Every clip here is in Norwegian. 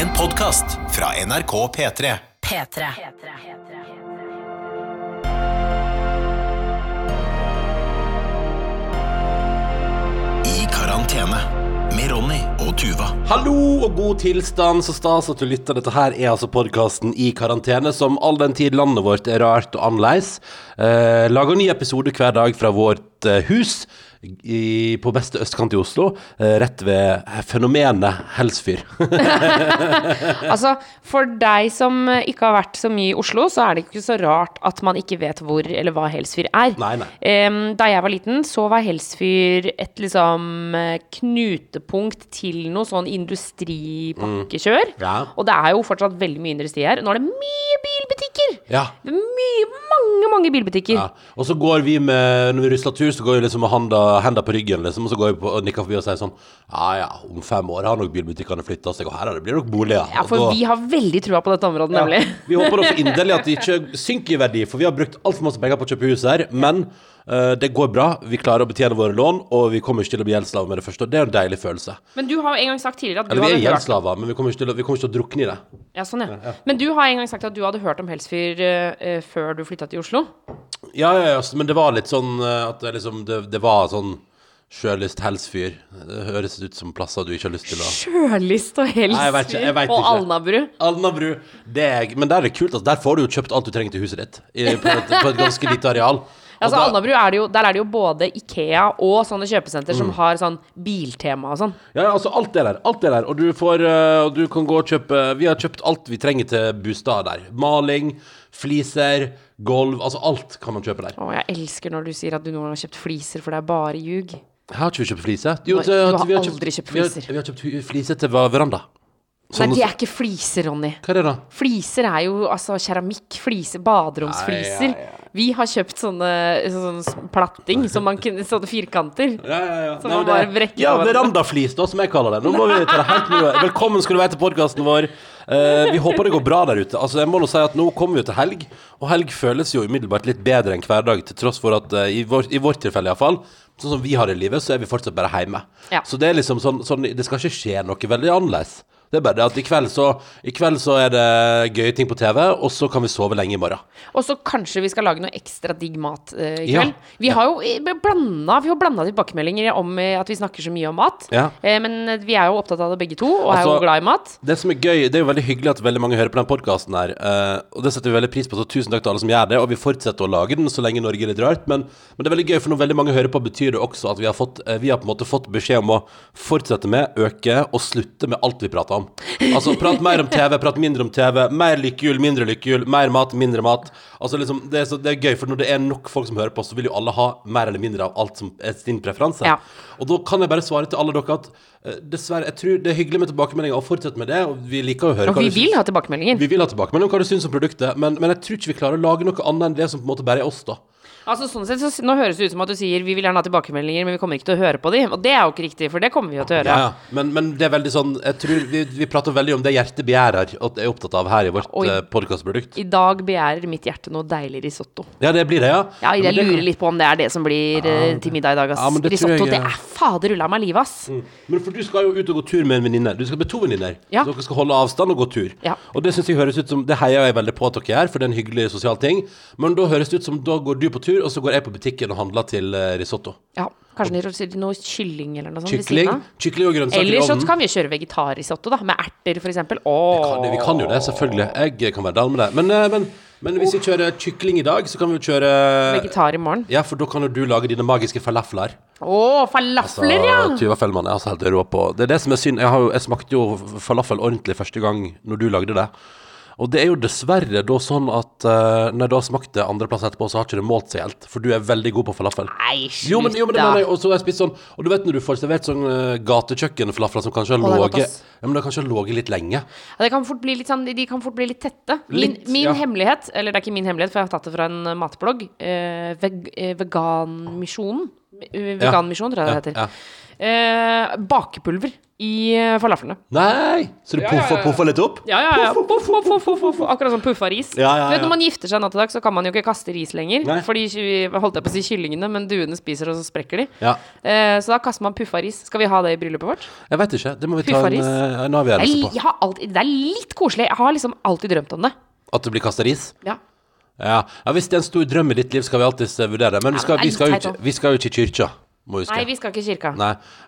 En podcast fra NRK P3. P3. I karantene. Med Ronny og Tuva. Hallo og god tilstand, så stas at du lytter. Dette her er altså podkasten I karantene, som all den tid landet vårt er rart og annerledes. Eh, lager ny episode hver dag fra vårt eh, hus i, på beste østkant i Oslo. Eh, rett ved eh, fenomenet Helsfyr. Altså, For deg som eh, ikke har vært så mye i Oslo, så er det ikke så rart at man ikke vet hvor eller hva Helsfyr er. Nei, nei. Em, da jeg var liten, så var Helsfyr et liksom eh, knutepunkt til noe sånn industripakkekjør. Mm. Ja. Og det er jo fortsatt veldig mye industri her. Nå er det mye bilbutikker! Ja. Det er mye, mange, mange bilbutikker. ja. Og så går vi med Når vi rusler tur, så går vi liksom med handa, henda på ryggen, liksom. Og så går vi på, og nikker forbi og sier sånn Ja ja, om fem år har nok bilbutikkene flytta seg, og her er det- blir det nok boliger. Ja, for Og da- vi har veldig trua på dette området, nemlig. Ja, vi håper også inderlig at det ikke synker i verdi, for vi har brukt altfor masse penger på å kjøpe hus her. Men eh, det går bra. Vi klarer å betjene våre lån, og vi kommer ikke til å bli gjeldsslaver med det første. Og det er en deilig følelse. Men du har jo en gang sagt tidligere at du Eller vi hadde er hørt gjeldsslaver, men vi kommer, ikke til å, vi kommer ikke til å drukne i det. Ja, sånn, ja. Men du har en gang sagt at du hadde hørt om Helsfyr eh, eh, før du flytta til Oslo. Ja, ja, ja, men det var litt sånn eh, at det liksom Det, det var sånn sjølyst helsfyr. Det høres ut som plasser du ikke har lyst til å Sjølyst og altså. Nei, jeg vet ikke, jeg Helsfyr vet og ikke. Alnabru. Alnabru. Det er, men der er det kult. Altså, der får du jo kjøpt alt du trenger til huset ditt. I, på, et, på et ganske lite areal. Og Altså, da- Alnabru er det jo, der er det jo både Ikea og sånne kjøpesenter Mm. som har sånn biltema og sånn. Ja, ja, altså alt er der. Alt er der. Og du, får, øh, og du kan gå og kjøpe Vi har kjøpt alt vi trenger til bostad der. Maling, fliser, gulv. Altså alt kan man kjøpe der. Å, jeg elsker når du sier at du noen gang har kjøpt fliser, for det er bare ljug. Jeg har ikke kjøpt flise. Nei, til- du har vi aldri kjøpt fliser. Vi har, vi har kjøpt hu- flise til ver- veranda. Nei, Sånne- det er ikke fliser, Ronny. Hva er det, da? Fliser er jo altså keramikk, fliser, baderomsfliser. Nei, ja, ja. Vi har kjøpt sånne, sånne platting, som man kunne, sånne firkanter. Ja, ja, ja. Som Nei, men man bare det- brekker ja, av hverandre. verandaflis, da, som jeg kaller det. Nå må vi ta det helt med ro. Velkommen skal du være til podkasten vår. Eh, vi håper det går bra der ute. Altså, jeg må nå si at nå kommer vi jo til helg, og helg føles jo umiddelbart litt bedre enn hverdag, til tross for at eh, i, vår, i vårt tilfelle iallfall, sånn som vi har det i livet, så er vi fortsatt bare hjemme. Ja. Så det er liksom sånn, sånn Det skal ikke skje noe veldig annerledes. Det er bare det at i kveld, så, i kveld så er det gøye ting på TV, og så kan vi sove lenge i morgen. Og så kanskje vi skal lage noe ekstra digg mat eh, i Ja. kveld. Vi har jo eh, blanda, vi har blanda tilbakemeldinger om eh, at vi snakker så mye om mat. Ja. Eh, men eh, vi er jo opptatt av det begge to, og er jo Altså- glad i mat. Det som er gøy, det er jo veldig hyggelig at veldig mange hører på den podkasten her. eh, og det setter vi veldig pris på, så tusen takk til alle som gjør det. Og vi fortsetter å lage den så lenge Norge er litt rart. Men, men det er veldig gøy, for når veldig mange hører på, betyr det også at vi har, fått, eh, vi har på en måte fått beskjed om å fortsette med, øke og slutte med alt vi prater om. Altså prat mer om TV, prat mindre om TV, mer lykkehjul, mindre lykkehjul, mer mat, mindre mat. Altså liksom, det er, så, det er gøy, for når det er nok folk som hører på, så vil jo alle ha mer eller mindre av alt som er sin preferanse. Ja. Og da kan jeg bare svare til alle dere at eh, dessverre, jeg tror det er hyggelig med tilbakemeldinger, og fortsett med det. Og vi liker å høre Og vi vil ha tilbakemeldinger. vi vil ha tilbakemelding om hva du syns om produktet, men, men jeg tror ikke vi klarer å lage noe annet enn det som på en måte bare er oss, da. Altså sånn sett, så, s- Nå høres det ut som at du sier vi vil gjerne ha tilbakemeldinger, men vi kommer ikke til å høre på de. Og det er jo ikke riktig, for det kommer vi jo til å Ja, høre. ja. Men, men det er veldig sånn Jeg tror vi, vi prater veldig om det hjertet begjærer, og er opptatt av her i vårt Oi. eh, podcastprodukt. I dag begjærer mitt hjerte noe deilig risotto. Ja, det blir det, ja. Ja, Men jeg det- lurer litt på om det er det som blir eh, til middag i dag, ass. Ja, men det tror risotto, jeg- Mm. det er fader ulla meg livet, ass. Men for du skal jo ut og gå tur med en venninne. Du skal med to venninner. Ja. Så dere skal holde avstand og gå tur. Ja. Og det synes jeg høres ut som Det heier jeg veldig på at dere gjør, for det er en hyggelig sosial ting. Men da høres det ut som da går du på tur, og så går jeg på butikken og handler til eh, risotto. Ja, kanskje noe- noe kylling eller noe sånt ved siden Kykling, av. kykling og grønnsaker i Eller så ovnen. kan vi kjøre vegetarrisotto, da, med erter f.eks. Åh. Kan, vi kan jo det, selvfølgelig. Jeg kan være down med det. Men, eh, men, men hvis vi kjører kykling i dag, så kan vi jo kjøre Vegetar i morgen. Ja, for da kan jo du lage dine magiske falafler. Å, falafler, ja! Så Tuva Fellmann er altså helt rå på Det er det som er synd. Jeg, har jo, jeg smakte jo falafel ordentlig første gang når du lagde det. Og det er jo dessverre da sånn at eh, når du har smakt det andreplass etterpå, så har ikke det målt seg helt. For du er veldig god på falafel. Nei, slutt, Jo, men, jo, men det da. mener jeg, og så har jeg spist sånn Og du vet når du får servert sånn uh, gatekjøkkenflafler som kanskje har Å, det er godt, ligget ass. Ja, men det har kanskje ligget litt lenge. Ja, det kan fort bli litt sånn, de kan fort bli litt tette. Min, Litt, min ja. hemmelighet, eller det er ikke min hemmelighet, for jeg har tatt det fra en eh, matblogg, eh, veg, eh, Veganmisjonen. Eh, Veganmisjonen, tror jeg det ja, heter. eh, bakepulver i eh, falaflene. Nei! Så du Ja, ja, ja, poffa, ja. poffa litt opp? Ja, ja, ja. Puff, puff, puff, puff, puff. Akkurat som puffa ris. Ja, ja, Du vet, ja. når man gifter seg nå til dags, så kan man jo ikke kaste ris lenger. Nei. Fordi ky- holdt jeg på å si kyllingene, men duene spiser, og så sprekker de. Ja. Eh, så da kaster man puffa ris. Skal vi ha det i bryllupet vårt? Jeg veit ikke. Det må vi ta Puffa en, ris. eh, en Jeg, avgjørelse li- på. jeg har alltid, det er litt koselig. Jeg har liksom alltid drømt om det. At det blir kasta ris? Ja. Ja. ja, hvis det er en stor drøm i ditt liv, skal vi alltids eh, vurdere det. Men vi Ja, skal, men det er vi skal, jo, litt teit ikke, også. vi skal jo ikke i kyrkja, må huske. Nei, vi skal ikke i kirka. Nei,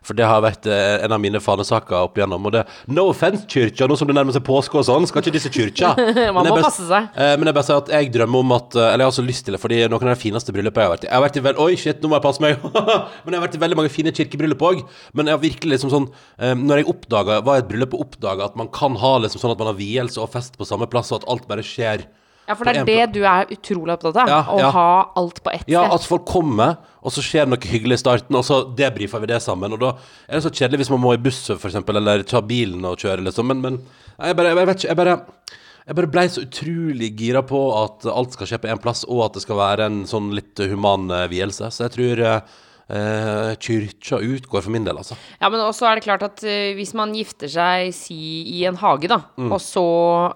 for det har vært eh, en av mine fanesaker opp igjennom. Og det, no offense, kyrkja, nå som det nærmer seg påske og sånn, skal ikke disse kyrkja. Man Men jeg må bare- passe seg. Eh, men jeg bare sier at jeg drømmer om at eh, Eller jeg har også lyst til det, fordi noen av de fineste bryllupene jeg har vært i Jeg har vært i vel, Oi, shit, nå må jeg passe meg. men jeg har vært i veldig mange fine kirkebryllup òg. Men jeg har virkelig liksom sånn eh, Når jeg oppdaga, var i et bryllup og oppdaga at man kan ha liksom sånn at man har vielse og fest på samme plass, og at alt bare skjer. Ja, for det På en er det du er utrolig opptatt av. Ja, ja. Å ha alt på ett Ja, sted. at folk kommer, og så skjer det noe hyggelig i starten, og så debrifer vi det sammen. Og da er det så kjedelig hvis man må i buss, for eksempel, eller ta bilen og kjøre, liksom. Men, men nei, jeg, bare, jeg vet ikke, jeg bare jeg bare blei så utrolig gira på at alt skal skje på én plass, og at det skal være en sånn litt human eh, vielse. Så jeg tror eh, eh, kyrkja utgår for min del, altså. Ja, men også er det klart at eh, hvis man gifter seg si, i en hage, da, Mm. og så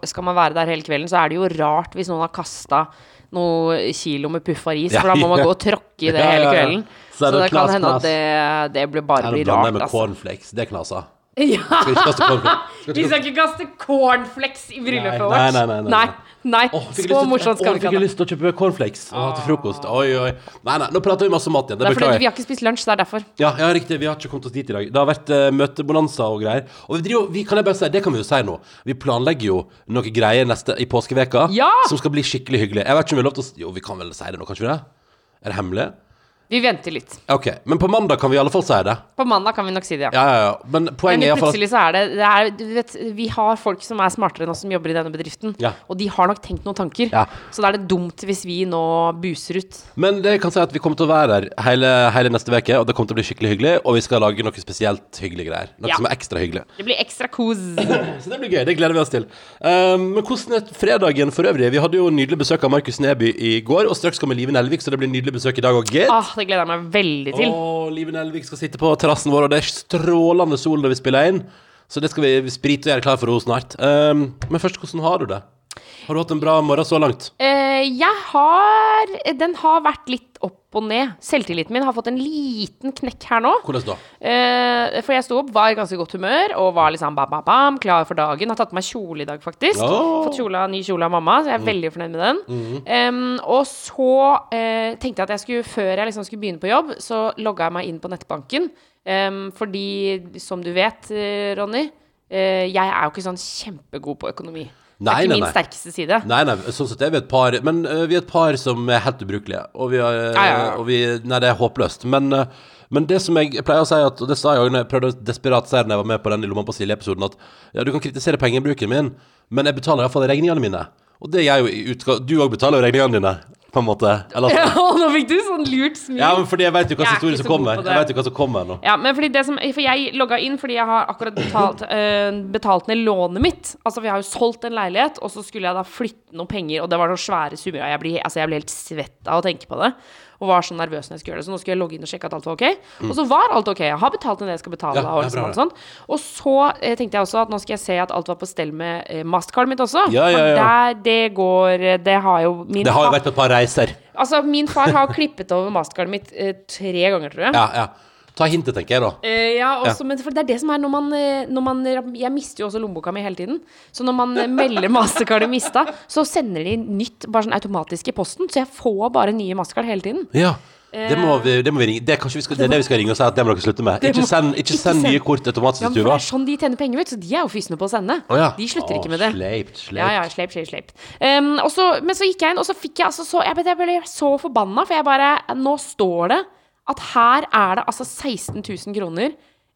skal man være der hele kvelden, så er det jo rart hvis noen har kasta noen kilo med puffa ris, Ja, for da må man ja. gå og tråkke i det Ja, ja, hele ja. kvelden. Så er Så det det, knas, kan hende knas. at det, det blir bare Eller blir blander jeg rart, med altså. cornflakes. Det knasa. Ja, Skal ikke kaste cornflakes. vi skal ikke kaste cornflakes i bryllupet Nei, vårt. nei, nei, nei, nei. nei, Åh, fikk jeg lyst Så til- Åh, morsomt skal fikk vi jeg ikke ha det. lyst til å kjøpe cornflakes og ha til frokost. Oi, oi. Nei, nei, nå prater vi masse om mat igjen. Det Det er fordi beklager vi jeg. har ikke spist lunsj, det er derfor. Ja, ja, riktig. Vi har ikke kommet oss dit i dag. Det har vært eh, møtebonanza og greier. Og vi driver, vi, kan jeg bare si, det kan vi jo si nå. Vi planlegger jo noe greier neste, i påskeveka Ja! som skal bli skikkelig hyggelig. Jeg vet ikke om vi har lov til å s- Jo, vi kan vel si det nå, kanskje vi det? Er det hemmelig? Vi venter litt. OK. Men på mandag kan vi i alle fall si det. På mandag kan vi nok si det, ja. Ja, ja, ja. Men Men poenget er iallfall plutselig så er det, det er, du vet, Vi har folk som er smartere enn oss som jobber i denne bedriften. Ja. Og de har nok tenkt noen tanker. Ja. Så da er det dumt hvis vi nå buser ut. Men det kan si at vi kommer til å være der hele, hele neste uke, og det kommer til å bli skikkelig hyggelig. Og vi skal lage noe spesielt hyggelig greier. Noe Ja. som er ekstra hyggelig. Det blir ekstra kos. Så det blir gøy, det gleder vi oss til. Um, men hvordan er fredagen for øvrig? Vi hadde jo nydelig besøk av Markus Neby i går, og straks kommer Live Nelvik, så det blir nydelig besøk i dag òg, gitt. Ah, det gleder jeg meg veldig til. Og Live Nelvik skal sitte på terrassen vår, og det er strålende sol når vi spiller inn. Så det skal vi sprite og gjøre klar for henne snart. Um, men først, hvordan har du det? Har du hatt en bra morgen så langt? Eh, jeg har Den har vært litt opp og ned. Selvtilliten min har fått en liten knekk her nå. Hvordan da? Eh, for jeg sto opp, var i ganske godt humør og var liksom bam, bam, bam, klar for dagen. Har tatt på meg kjole i dag, faktisk. Åh. Fått kjole, av- ny kjole av mamma, så jeg er Mm. veldig fornøyd med den. Em, og så eh, tenkte jeg at jeg skulle, før jeg liksom skulle begynne på jobb, så logga jeg meg inn på nettbanken. Em, fordi, som du vet, eh, Ronny, eh, jeg er jo ikke sånn kjempegod på økonomi. Nei, det er nei, ikke min nei. sterkeste side. Nei, nei, sånn sett er vi et par Men øh, vi er et par som er helt ubrukelige Og vi er, Ja, ja, ja. Og vi, nei, det er håpløst Men, øh, men det som jeg pleier å si at, Og det sa jeg også når jeg prøvde å desperat si det Når jeg var med på den i Loman på Silje-episoden At ja, du kan kritisere pengebruken min Men jeg betaler i hvert fall regningene mine Og det gjør jeg jo i utga- Du også betaler jo regningene dine På en måte Eller, Ja, altså- og nå fikk du sånn lurt smil. ja, men fordi jeg vet jo hva Jeg som er ikke historie som så god på kommer det. Jeg vet jo hva som kommer nå Ja, men fordi det som, for jeg logga inn fordi jeg har akkurat betalt, eh, betalt ned lånet mitt. Altså, vi har jo solgt en leilighet, og så skulle jeg da flytte noen penger, og det var noen svære summer. og Jeg ble, altså, jeg ble helt svett av å tenke på det, og var så nervøs når jeg skulle gjøre det. Så nå skulle jeg logge inn og sjekke at alt var ok. Og så var alt ok. Jeg har betalt ned det jeg skal betale. Mm. Ja, og, det er liksom bra, alt sånt. og så eh, tenkte jeg også at nå skal jeg se at alt var på stell med eh, mastercardet mitt også. Ja, ja, For ja. der, det går eh, Det har jo min Det har jo fa- vært et par reiser Altså, min far har klippet over mastercardet mitt eh, tre ganger, tror jeg. Ja, ja Ta hintet, tenker jeg da Eh, ja, også, men for det er det som er når man, eh, når man Jeg mister jo også lommeboka mi hele tiden. Så når man eh, melder mastercardet mista, så sender de nytt bare sånn automatisk i posten. Så jeg får bare nye mastercard hele tiden. Ja. Det må vi, det må vi ringe det, er kanskje vi skal, det er det vi skal ringe og si at det må dere slutte med. Eh. Det Ikke må- send, ikke ikke send nye send. kort automatisk Ja, til men for Tuva. det er sånn de tjener penger, vet du. Så de er jo fysne på å sende. Å ja. De slutter Å, ikke med det. Sleipt, sleipt. Ja, ja, sleip, sleip, sleip. Ehm, og så, men så gikk jeg inn, og så fikk jeg altså så Jeg, ble- jeg ble så forbanna, for jeg bare Nå står det at her er det altså 16 000 kroner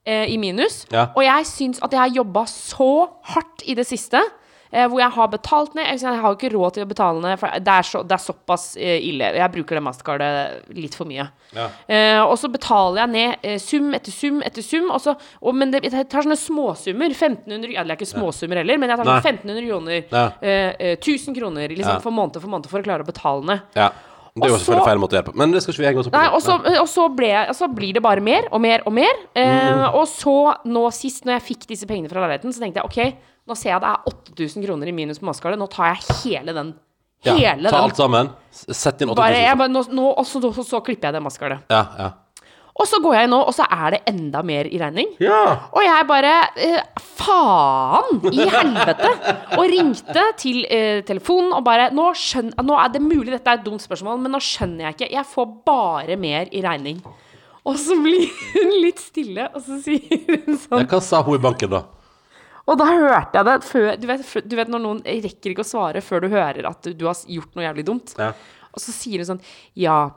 eh, i minus. Ja. Og jeg syns at jeg har jobba så hardt i det siste. eh, hvor jeg har betalt ned. Jeg synes Jeg har jo ikke råd til å betale ned, for det er, så, det er såpass eh, ille. Jeg bruker det mastercardet litt for mye. Ja. Eh, og så betaler jeg ned eh, sum etter sum etter sum. Og så, og, men det, jeg tar sånne småsummer. 1500, ja, det er ikke småsummer heller, men jeg tar sånn Nei. 1500 kroner. Ja. eh, eh, 1000 kroner liksom, Ja. for måned for måned for å klare å betale ned. Ja. Det er jo Og så- selvfølgelig feil måte å gjøre det på, men det skal ikke vi henge oss opp i. Nei, og så, og så, ble, og så blir det bare mer og mer og mer. Eh, Mm. Og så nå sist, når jeg fikk disse pengene fra leiligheten, så tenkte jeg OK, nå ser jeg det er 8000 kroner i minus på maskara, nå tar jeg hele den. Ja, Hele Ta alt den. sammen. S- Sett inn 8000. Bare, jeg, bare, nå, nå, og så, og så klipper jeg det maskaraet. Ja, ja. Og så går jeg nå, og så er det enda mer i regning. ja. Og jeg bare eh, Faen i helvete! Og ringte til eh, telefonen og bare nå, skjønner, nå er det mulig dette er et dumt spørsmål, men nå skjønner jeg ikke. Jeg får bare mer i regning. Og så blir hun litt stille, og så sier hun sånn Hva sa hun i banken, da? Og da hørte jeg det før Du vet, før- du vet når noen rekker ikke å svare før du hører at du, du har gjort noe jævlig dumt. Ja. Og så sier hun sånn Ja,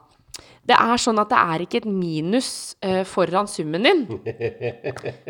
det er sånn at det er ikke et minus eh, foran summen din.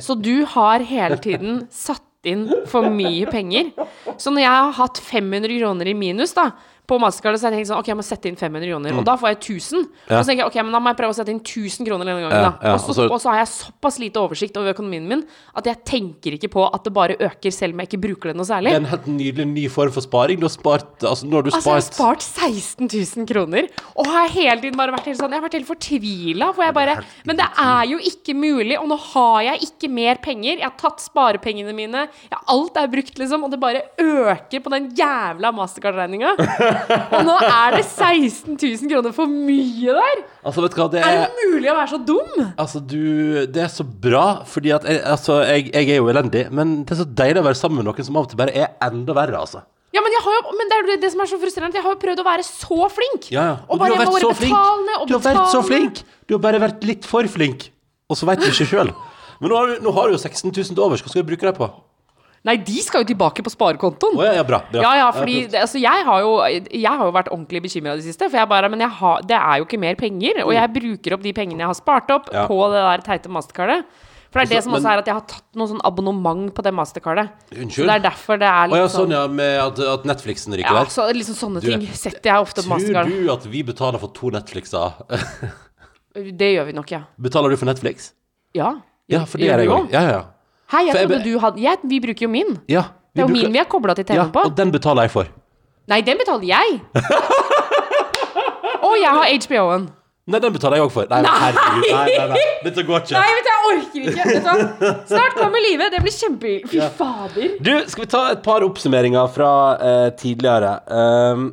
Så du har hele tiden satt inn for mye penger. Så når jeg har hatt 500 kroner i minus da på Mastercard, så har jeg tenkt sånn OK, jeg må sette inn 500 kroner. Mm. Og da får jeg 1000. Og så tenker jeg OK, men da må jeg prøve å sette inn 1000 kroner denne gangen, Ja, da. ja, altså- og, så, og så- og så har jeg såpass lite oversikt over økonomien min at jeg tenker ikke på at det bare øker selv om jeg ikke bruker det noe særlig. Det er en helt nydelig ny form for sparing. Du har spart Altså, nå har du Altså, jeg har spart spart 16 000 kroner, og har hele tiden bare vært helt sånn Jeg har vært helt fortvila, for jeg bare Men det er jo ikke mulig, og nå har jeg ikke mer penger. Jeg har tatt sparepengene mine, jeg, alt er brukt, liksom, og det bare øker på den jævla Mastercard-regninga. Og nå er det 16 000 kroner for mye der! Altså, vet du hva, det Er er det mulig å være så dum? Altså, du Det er så bra, fordi at jeg, Altså, jeg, jeg er jo elendig, men det er så deilig å være sammen med noen som av og til bare er enda verre, altså. Ja, men, jeg har jo, men det er jo det- det som er så frustrerende. at Jeg har jo prøvd å være så flink. Ja, ja. Og bare, du har jeg må vært så bare flink. betale ned og Du har vært så betale. flink. Du har bare vært litt for flink, og så veit du ikke sjøl. Men nå har, du, nå har du jo 16 000 til overs, hva skal du bruke det på? Nei, de skal jo tilbake på sparekontoen. Å ja, ja, bra, bra. Ja, ja, Ja, fordi flott. det, altså, jeg, har jo, jeg har jo vært ordentlig bekymra i det siste. For jeg bare, men jeg har, det er jo ikke mer penger. Og jeg bruker opp de pengene jeg har spart opp Mm. Ja. på det der teite mastercardet. For det er det Altså, som også men- er at jeg har tatt noe sånn abonnement på det mastercardet. Så Unnskyld? det er derfor det er Å ja, litt sånn, sånn ja, med at, at Netflixen ryker ja, der. så, liksom sånne Du, ting setter jeg ofte på Tror mastercardet. du at vi betaler for to Netflixer? Det gjør vi nok, ja. Betaler du for Netflix? Ja. Ja, for det Gjør gjør du jeg også? òg. Ja, ja. Hei, jeg For jeg trodde be- du hadde jeg, Vi bruker jo min. ja vi Det er jo bruker- min vi er kobla til ja, TV-en på. Og den betaler jeg for. Nei, den betaler jeg. Og jeg har HBO-en. Nei, den betaler jeg òg for. Nei, men herregud. Nei, nei, nei. Dette går ikke. Nei, vet du, jeg orker ikke. Vet du. hva? Snart kommer livet. Det blir kjempe... Fy fader. Du, skal vi ta et par oppsummeringer fra eh, tidligere? Um,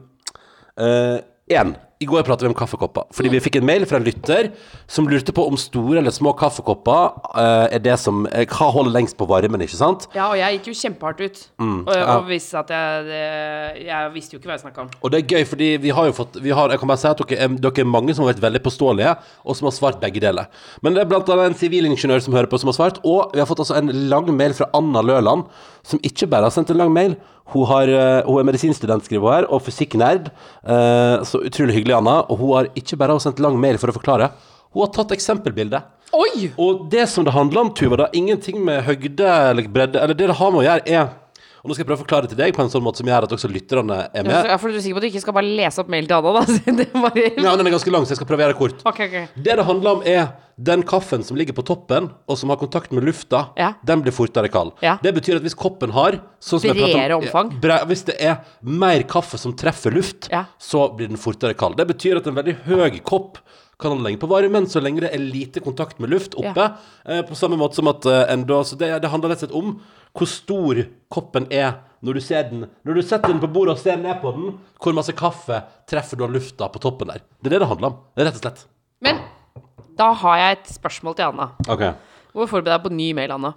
eh, en. I går pratet vi om kaffekopper, fordi vi fikk en mail fra en lytter som lurte på om store eller små kaffekopper eh, er det som eh, Hva holder lengst på varmen, ikke sant? Ja, og jeg gikk jo kjempehardt ut. Mm, og, og visste at jeg det- Jeg visste jo ikke hva jeg snakka om. Og det er gøy, fordi vi har jo fått vi har, Jeg kan bare si at dere, er- dere er mange som har vært veldig påståelige, og som har svart begge deler. Men det er blant annet en sivilingeniør som hører på, som har svart. Og vi har fått altså en lang mail fra Anna Løland, som ikke bare har sendt en lang mail. Hun, har, eh, hun er medisinstudent, skriver hun her, og fysikknerd. Eh, Så utrolig hyggelig, Anna. Og hun har ikke bare sendt lang mail for å forklare. Hun har tatt eksempelbilde. Oi! Og det som det handler om, Tuva, det har ingenting med høgde eller bredde Eller det det har med å gjøre, er Og nå skal jeg prøve å forklare det til deg på en sånn måte som gjør at også lytterne er med. Jeg er for- du er sikker på at du ikke skal bare lese opp mail til Anna, da? Så det bare... Ja, den er ganske lang, så jeg skal prøve å gjøre det kort. Ok, ok. Det det handler om, er den kaffen som ligger på toppen, og som har kontakt med lufta, Ja. den blir fortere kald. Ja. Det betyr at hvis koppen har sånn som jeg pratet om- Bredere omfang. Ja, bre- Hvis det er mer kaffe som treffer luft, Ja. så blir den fortere kald. Det betyr at en veldig høy kopp kan holde lenge på varmen så lenge det er lite kontakt med luft oppe. Ja. Eh, på samme måte som at eh, en da Så det, det handler rett og slett om hvor stor koppen er når du ser den Når du setter den på bordet og ser ned på den, hvor masse kaffe treffer da lufta på toppen der. Det er det det handler om, rett og slett. Men da har jeg et spørsmål til Anna. Okay. Du må forberede deg på ny mail, Anna.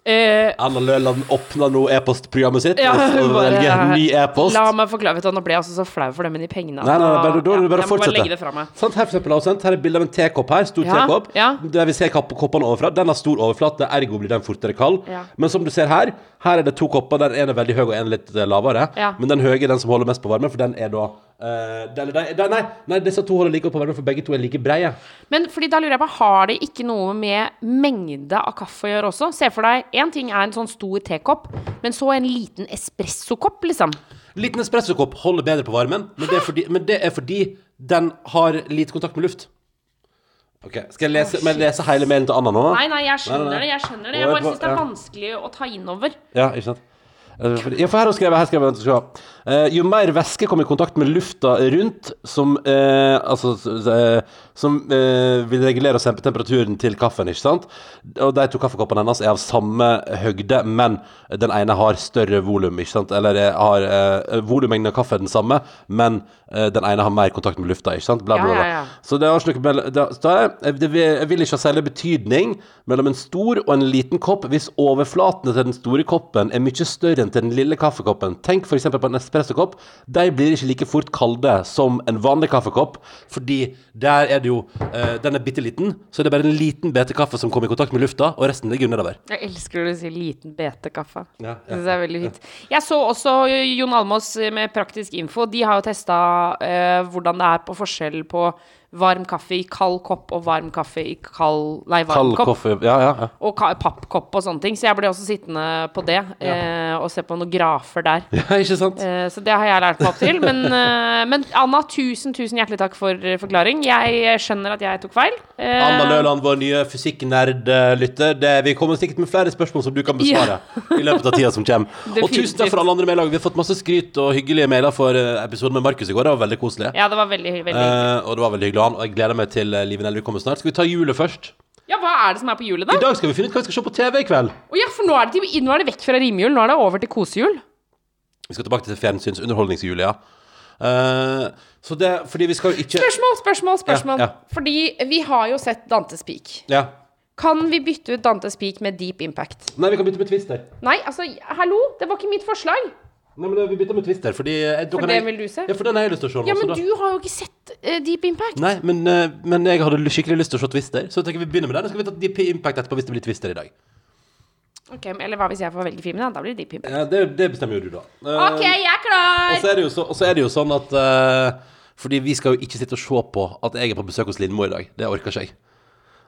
Eh, Erna Løland åpner nå e-postprogrammet sitt ja, og- og bare- velger en ny e-post. La meg forklare. Vet du, Nå ble jeg altså så flau for det med de pengene. at Nei, nei, nei, bare, da- da er det bare ja, å jeg må fortsette. bare legge det fra meg. Sant, her, for eksempel, har vi sendt, her er bilde av en tekopp her, stor Ja, tekopp. ja. Der vi ser kapp- koppene overfra. Den har stor overflate, ergo blir den fortere kald. Ja. Men som du ser her, her er det to kopper. Den ene er veldig høy og en litt eh, lavere. Ja. Men den høye er den som holder mest på varmen, for den er da eh, den, den, den, nei, nei, disse to holder like opp på varmen, for begge to er like breie. Men fordi da lurer jeg på, har det ikke noe med mengde av kaffe å gjøre også? Se for deg, én ting er en sånn stor tekopp, men så en liten espressokopp, liksom. Liten espressokopp holder bedre på varmen, men det, er fordi, men det er fordi den har lite kontakt med luft. Ok, Skal jeg lese, men lese hele mailen til Anna nå? da? Nei, nei, jeg Nei, skjønner nei, nei. det, jeg skjønner det. Jeg Og bare syns det er ja. vanskelig å ta innover. Ja, ikke sant? Eh, Ja, for her har skrevet, her skrevet skal vi se. Eh, Jo mer væske kom i kontakt med lufta rundt, som, eh, altså, s- s- eh, som eh, vil regulere og sempe temperaturen til kaffen, ikke sant? Og de to kaffekoppene hennes er av samme høgde, men den ene har større volum, ikke sant? Eller eh, har eh, volumengden av kaffe er den samme, men eh, den ene har mer kontakt med lufta, ikke sant? Bla, bla, bla. Ja, ja, ja. Så det har ikke noe mell- det, så det, er- det, vil- Jeg vil ikke ha særlig betydning mellom en stor og en liten kopp hvis overflatene til den store koppen er mye større enn til den lille kaffekoppen. Tenk f.eks. på en espressokopp. De blir ikke like fort kalde som en vanlig kaffekopp, fordi der er det jo eh, Den er bitte liten, så det er bare en liten bete kaffe som kommer i kontakt med lufta, og resten ligger nedover. Jeg elsker når du sier liten betekaffe. Ja, ja. Det synes jeg er veldig fint. Jeg så også eh, Jon Almås med Praktisk info. De har jo testa eh, hvordan det er på forskjell på varm kaffe i kald kopp og varm kaffe i kald Nei, varm Kald kopp. kaffe Ja, ja. ja. Og ka pappkopp og sånne ting. Så jeg ble også sittende på det eh, og se på noen grafer der. ja ikke sant? Eh, Så det har jeg lært meg opp til. Men, eh, men Anna, tusen, tusen hjertelig takk for eh, forklaring. Jeg skjønner at jeg tok feil. Eh, Anna Løland, vår nye fysikknerd-lytter. Det- Vi kommer sikkert med flere spørsmål som du kan besvare i løpet av tida som kommer. Og Definitivt. tusen takk for alle andre mailer. Vi har fått masse skryt og hyggelige mailer for eh, episoden med Markus i går. Det var veldig koselig. Ja, det var veldig, veldig Eh, og det var veldig hyggelig. av han. Og jeg gleder meg til eh, Live Nelvik kommer snart. Skal vi ta julet først? Ja, hva er det som er på hjulet, I da? dag skal vi finne ut hva vi skal se på TV i kveld. Å ja, for nå er, det, til- nå er det vekk fra rimjul. Nå er det over til kosejul. Vi skal tilbake til fjernsynsunderholdningsjulet, ja. Eh, så det Fordi vi skal jo ikke Spørsmål, spørsmål, spørsmål. Ja, ja. Fordi vi har jo sett Dantes Peak. Ja. Kan vi bytte ut Dantes Peak med Deep Impact? Nei, vi kan bytte med Twister. Nei, altså, hallo, det var ikke mitt forslag. Nei, men vi bytter med Twister, fordi eh, da For kan det jeg- vil du se? Ja, for den har jeg lyst til å se nå. Ja, så men da- du har jo ikke sett eh, Deep Impact. Nei, men, eh, men jeg hadde skikkelig lyst til å se Twister, så jeg tenker vi begynner med den. Så skal vi ta Deep Impact etterpå hvis det blir Twister i dag. Ok, men- Eller hva hvis jeg får velge filmen? Da, da blir det Deep Impact. Ja, det, det bestemmer jo du, da. Eh, Ok, jeg er klar! Og så er det jo, så, og så er det jo sånn at eh, Fordi vi skal jo ikke sitte og se på at jeg er på besøk hos Lindmo i dag. Det orker ikke jeg.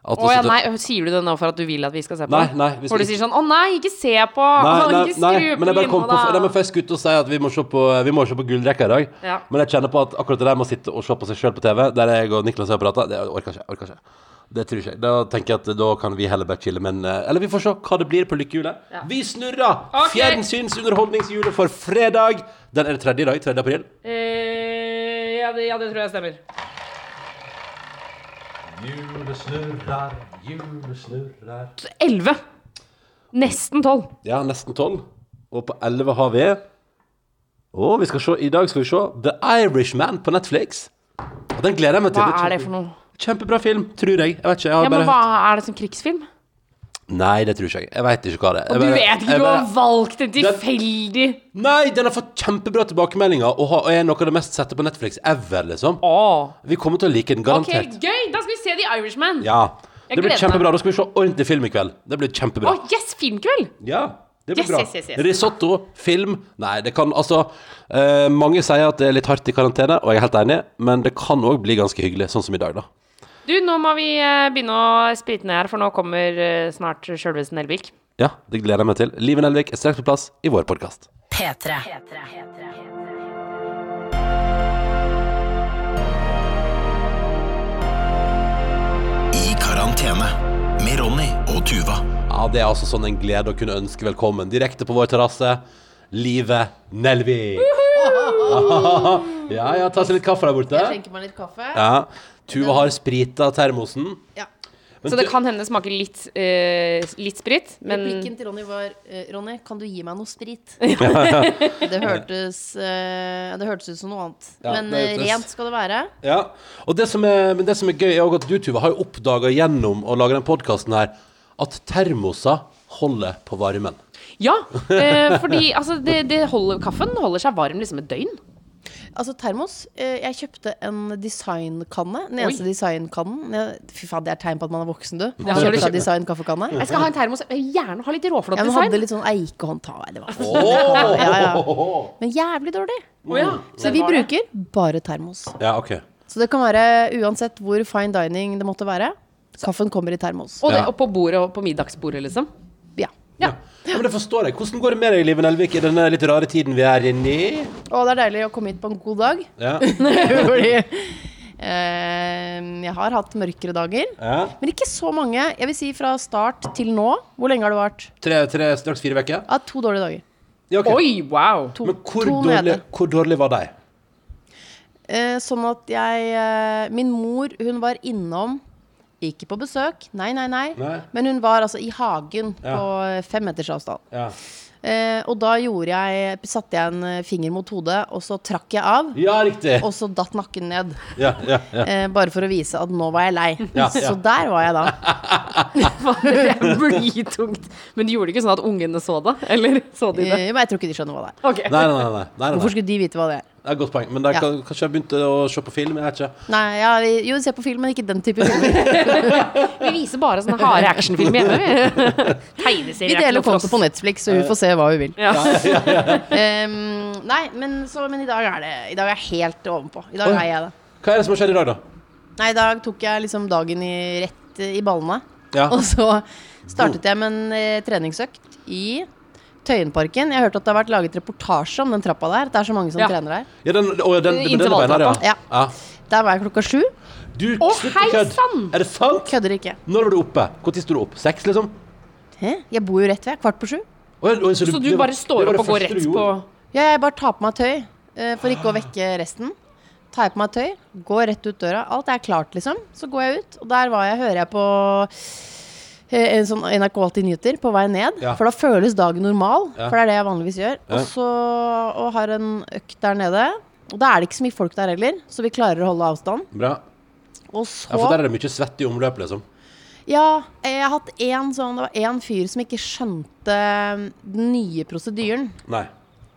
At Å å ja, sitte- nei, sier du det nå for at du vil at vi skal se på? Nei, det? nei, vi skal For du ikke- sier sånn 'Å nei, ikke se på', Nei, nei, ikke nei, skru men jeg på bare kom på, nei, men linja, da. først skulle jeg ut og si at vi må se på, vi må se på gullrekka i dag. Ja. Men jeg kjenner på at akkurat det der med å sitte og se på seg sjøl på TV, der jeg og Niklas har prata, det orker jeg ikke. orker ikke. Det tror ikke jeg. Da tenker jeg at da kan vi heller bare chille. Men, eh, eller vi får se hva det blir på lykkehjulet. Vi snurrer! Ok. Fjernsynsunderholdningshjulet for fredag. Den er det tredje i dag. 3. april. Eh, ja, det, ja, det tror jeg stemmer. Hjulet snurrer, hjulet snurrer. 11. Nesten 12. Ja, nesten tolv. Og på elleve har vi Å, vi skal se, I dag skal vi se The Irishman på Netflix. Og den gleder jeg meg til. Hva er det for noe? Kjempebra film, tror jeg. Jeg vet ikke, jeg har Ja, bare men hva er det som krigsfilm? Nei, det tror ikke jeg. Jeg vet ikke hva det er. Du Jeg bare- vet ikke, jeg du bare- har valgt en tilfeldig Nei, den har fått kjempebra tilbakemeldinger og har- og er noe av det mest sette på Netflix ever, liksom. Å. Vi kommer til å like den, Ok, garantert. gøy! Da skal vi se The Irishman. Ja. Jeg Det blir gleder meg. kjempebra. Da skal vi se ordentlig film i kveld. Det blir Å, kjempebra. yes, filmkveld! Ja, det blir Yes, bra. yes, yes, yes. Risotto, film Nei, det kan altså eh, Mange sier at det er litt hardt i karantene, og jeg er helt enig, men det kan òg bli ganske hyggelig, sånn som i dag, da. Du, nå må vi eh, begynne å sprite ned her, for nå kommer eh, snart sjølveste Nelvik. Ja, det gleder jeg meg til. Live Nelvik er straks på plass i vår podkast. P3. I karantene med Ronny og Tuva. Ja, Det er altså sånn en glede å kunne ønske velkommen direkte på vår terrasse. Live Nelvik. ja, ja, ta seg litt kaffe der borte. Jeg skjenker meg litt kaffe. Ja, Tuva har sprita termosen. Ja. Så det kan hende det smaker litt, eh, litt sprit, men Replikken til Ronny var eh, Ronny, kan du gi meg noe sprit? det, hørtes, eh, det hørtes ut som noe annet. Ja, Men det eh, hørtes- rent skal det være. Ja, og det som er, men det som er gøy er også at du, Tuva, har jo oppdaga gjennom å lage den podkasten her at termoser holder på varmen. Ja, eh, fordi altså, det, det holder, kaffen holder seg varm liksom et døgn. Altså termos. eh, jeg kjøpte en designkanne. Den eneste designkannen. Jeg- Fy faen, det er tegn på at man er voksen, du. Man har du kjøpte kjøpt. en designkaffekanne. Jeg skal ha en termos, jeg vil gjerne ha litt råflott Ja, men design. hadde litt sånn eikehåndtak eller hva. Oh! Ja, ja. Men jævlig dårlig. Å ja, Så vi bruker bare termos. Ja, ok. Så det kan være uansett hvor fine dining det måtte være. Kaffen kommer i termos. Og, det, Ja. og på bordet og på middagsbordet, liksom. Ja. Ja. ja, men Det forstår jeg. Hvordan går det med deg, Liven Elvik, i denne litt rare tiden vi er inne i? Og det er deilig å komme hit på en god dag. Ja, Fordi eh, jeg har hatt mørkere dager. ja. Men ikke så mange. Jeg vil si fra start til nå. Hvor lenge har det vart? Tre, tre, straks fire uker? Ja, to dårlige dager. Ja, ok. Oi, wow! To, Men hvor to dårlig, nede. hvor dårlig var de? Eh, sånn at jeg eh, Min mor, hun var innom Ikke på besøk, nei, nei, nei. Nei. Men hun var altså i hagen Ja. på eh, fem meters avstand. Ja. Eh, og da gjorde jeg Satte jeg en eh, finger mot hodet, og så trakk jeg av. ja, riktig. Og så datt nakken ned. Ja, ja, ja. Eh, bare for å vise at nå var jeg lei. Ja, ja. Så der var jeg da. Det er blytungt. Men de gjorde det ikke sånn at ungene så det? Eller så de det? Eh, men jeg tror ikke de skjønner hva det er. Ok. Nei, nei, nei. nei, nei, nei. Hvorfor skulle de vite hva det er? Det er et godt poeng. Men det er, Ja. kan- kanskje jeg begynte å se på film? Jeg vet ikke. Nei, ja, vi, jo, se på film, men ikke den type filmer. Vi viser bare sånne harde actionfilmer hjemme. vi. Tegneserier Vi er ikke deler noe for konto oss. på Netflix, så hun får se hva hun vil. Ja. Ehm, nei, men, så, men i dag er det I dag er jeg helt ovenpå. I dag Oi. er jeg det. Hva er det som har skjedd i dag, da? Nei, i dag tok jeg liksom dagen i rett eh, i ballene. Ja. Og så startet jeg med en eh, treningsøkt i Tøyenparken. Jeg hørte at det har vært laget reportasje om den trappa der. at Det er så mange som Ja. trener der. ja den, å, ja, den, den, den Intervalltrappa. beina, ja. Ja. Der var jeg klokka sju. Du, Å, slutt hei kødd. sann! Er det sant? Kødder ikke. Når var du oppe? Når sto du opp? Seks, liksom? Hæ? Jeg bor jo rett ved. Kvart på sju. Å, ja, å, Så du det var- bare det står var opp det og går første du rett på gjorde. Ja, jeg bare tar på meg tøy eh, for Ah. ikke å vekke resten. Tar jeg på meg tøy, går rett ut døra. Alt er klart, liksom. Så går jeg ut, og der var jeg, hører jeg på eh, en sånn NRK Alltid nyheter på vei ned. Ja. For da føles dagen normal, Ja. for det er det jeg vanligvis gjør. Ja. Og så og har en økt der nede. Og da er det ikke så mye folk der heller, så vi klarer å holde avstand. Bra. Og Ja, for så der er det mye svett i omløp, liksom. Ja, jeg har hatt én sånn Det var én fyr som ikke skjønte mm, den nye prosedyren. Nei.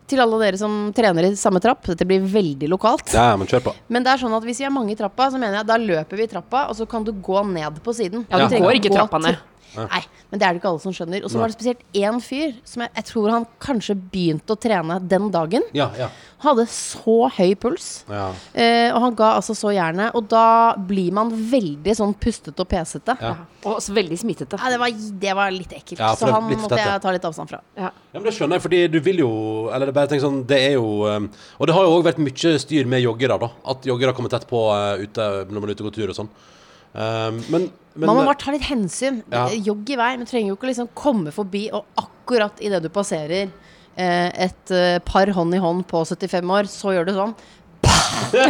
Til alle dere som trener i samme trapp, dette blir veldig lokalt. Ja, men kjør på. Men det er sånn at hvis vi er mange i trappa, så mener jeg da løper vi i trappa, og så kan du gå ned på siden. Ja, du trenger går å ikke gå trappa til- ned. Nei, men det er det ikke alle som skjønner. Og så var det spesielt én fyr som jeg, jeg tror han kanskje begynte å trene den dagen. Ja, ja. Han hadde så høy puls, ja. eh, og han ga altså så jernet. Og da blir man veldig sånn pustete og pesete. Ja. Og så veldig smittete. Ja, det, var, det var litt ekkelt, Ja, for så det er han litt måtte fett, ja. jeg ta litt avstand fra. Ja. Ja, men Det skjønner jeg, fordi du vil jo Eller bare tenk sånn, det er jo um, Og det har jo òg vært mye styr med joggere, da. At joggere kommer tett på uh, ute når man er ute og går tur og sånn. Um, men, men Man må bare ta litt hensyn. Ja. Jogg i vei. Men trenger jo ikke liksom komme forbi, og akkurat idet du passerer eh, et eh, par hånd i hånd på 75 år, så gjør du sånn.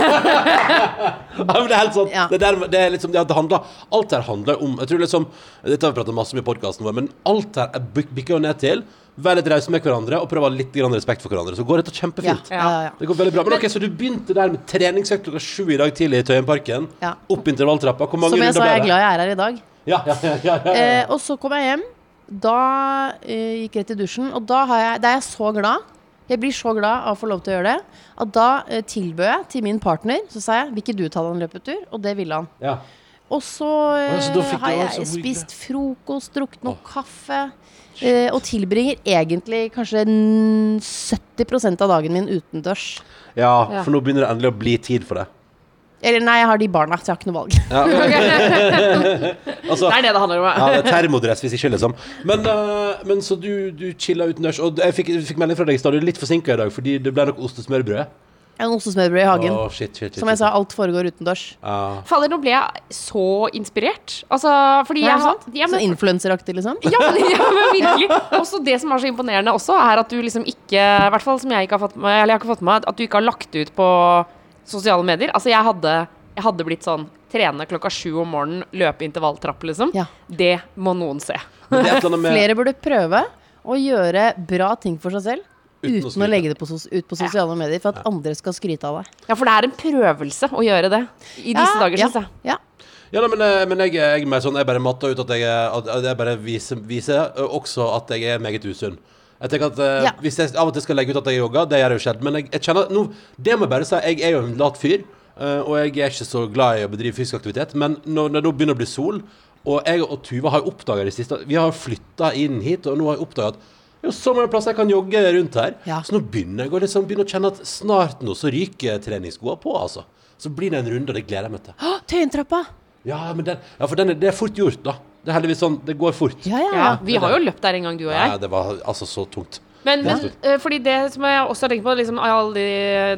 Ja, men det er helt sånn. Ja. Det, der, det er liksom ja, det handler, Alt her handler om Jeg tror liksom Dette har vi pratet masse om i podkasten vår, men alt her er bik- bikker jo ned til Vær litt rause med hverandre og prøv å ha litt grann respekt for hverandre. Så går dette Ja, kjempefint. ja, ja, ja. Det går veldig bra. Men ok, Så du begynte der med treningsøkt klokka sju i dag tidlig i Tøyenparken. Ja. Opp intervalltrappa. Hvor mange Som jeg runder sa, jeg er ble det? glad jeg er her i dag. Ja, ja, ja, ja, ja. Eh, og så kom jeg hjem. Da eh, gikk jeg rett i dusjen, og da, har jeg, da er jeg så glad. Jeg blir så glad av å få lov til å gjøre det. At da eh, tilbød jeg til min partner, så sa jeg 'vil ikke du ta deg en løpetur?' Og det ville han. ja. Og så ja, så da eh, fikk har du jeg altså hvor- spist frokost, drukket noe kaffe. eh, og tilbringer egentlig kanskje n- 70 av dagen min utendørs. Ja, Ja. for nå begynner det endelig å bli tid for det. Eller nei, jeg har de barna, så jeg har ikke noe valg. Altså, Det er det det handler om. ja, Ja. det er termodress hvis ikke, liksom. Men, eh, men så du, du chilla utendørs. Og jeg fikk, fikk melding fra deg i stad, du er litt forsinka i dag fordi det ble noe ostesmørbrød. Jeg har en ostesmørbrød i hagen. Å, shit, shit, shit, Som jeg shit. sa, alt foregår utendørs. Ja. Fader, nå ble jeg så inspirert. Altså, fordi jeg Er har det sant? ja, Sånn men, influenseraktig, liksom? ja, men, ja, men virkelig. Også det som er så imponerende også, er at du liksom ikke I hvert fall som jeg ikke har fått med Eller jeg har ikke fått med meg, at du ikke har lagt det ut på sosiale medier. Altså, jeg hadde, jeg hadde blitt sånn Trene klokka sju om morgenen, løpe intervalltrapp, liksom. Ja. Det må noen se. Men det er et eller annet med Flere burde prøve å gjøre bra ting for seg selv. Uten å Uten å skryte. legge det på sos ut på sosiale medier for at andre skal skryte av deg. Ja, for det er en prøvelse å gjøre det i disse Ja, dager, ja, syns jeg. Ja. Ja, nei, men, eh, men jeg, jeg, er mer sånn, jeg bare matter ut at jeg, er- at at jeg bare viser, viser eh, også at jeg er meget usunn. Jeg tenker at eh, Ja. Hvis jeg av og til skal legge ut at jeg jogger, det gjør jeg jo sjelden. Men jeg, jeg kjenner nå, det må jeg bare si, jeg er jo en lat fyr, eh, og jeg er ikke så glad i å bedrive fysisk aktivitet. Men når når det nå begynner å bli sol, og jeg og Tuva har jo oppdaga det siste Vi har flytta inn hit, og nå har jeg oppdaga at det er jo så mange plasser jeg kan jogge rundt her. Ja. Så nå begynner jeg å liksom, begynner å kjenne at snart nå så ryker treningsskoa på, altså. Så blir det en runde, og det gleder jeg meg til. Å, Tøyentrappa! Ja, men den, ja, for den er, det er fort gjort, da. Det er heldigvis sånn, det går fort. Ja, ja, Ja, ja. vi har jo løpt der en gang, du og jeg. Nei, det var altså så tungt. Men, Ja. men eh, fordi det som jeg også har tenkt på, liksom, all de,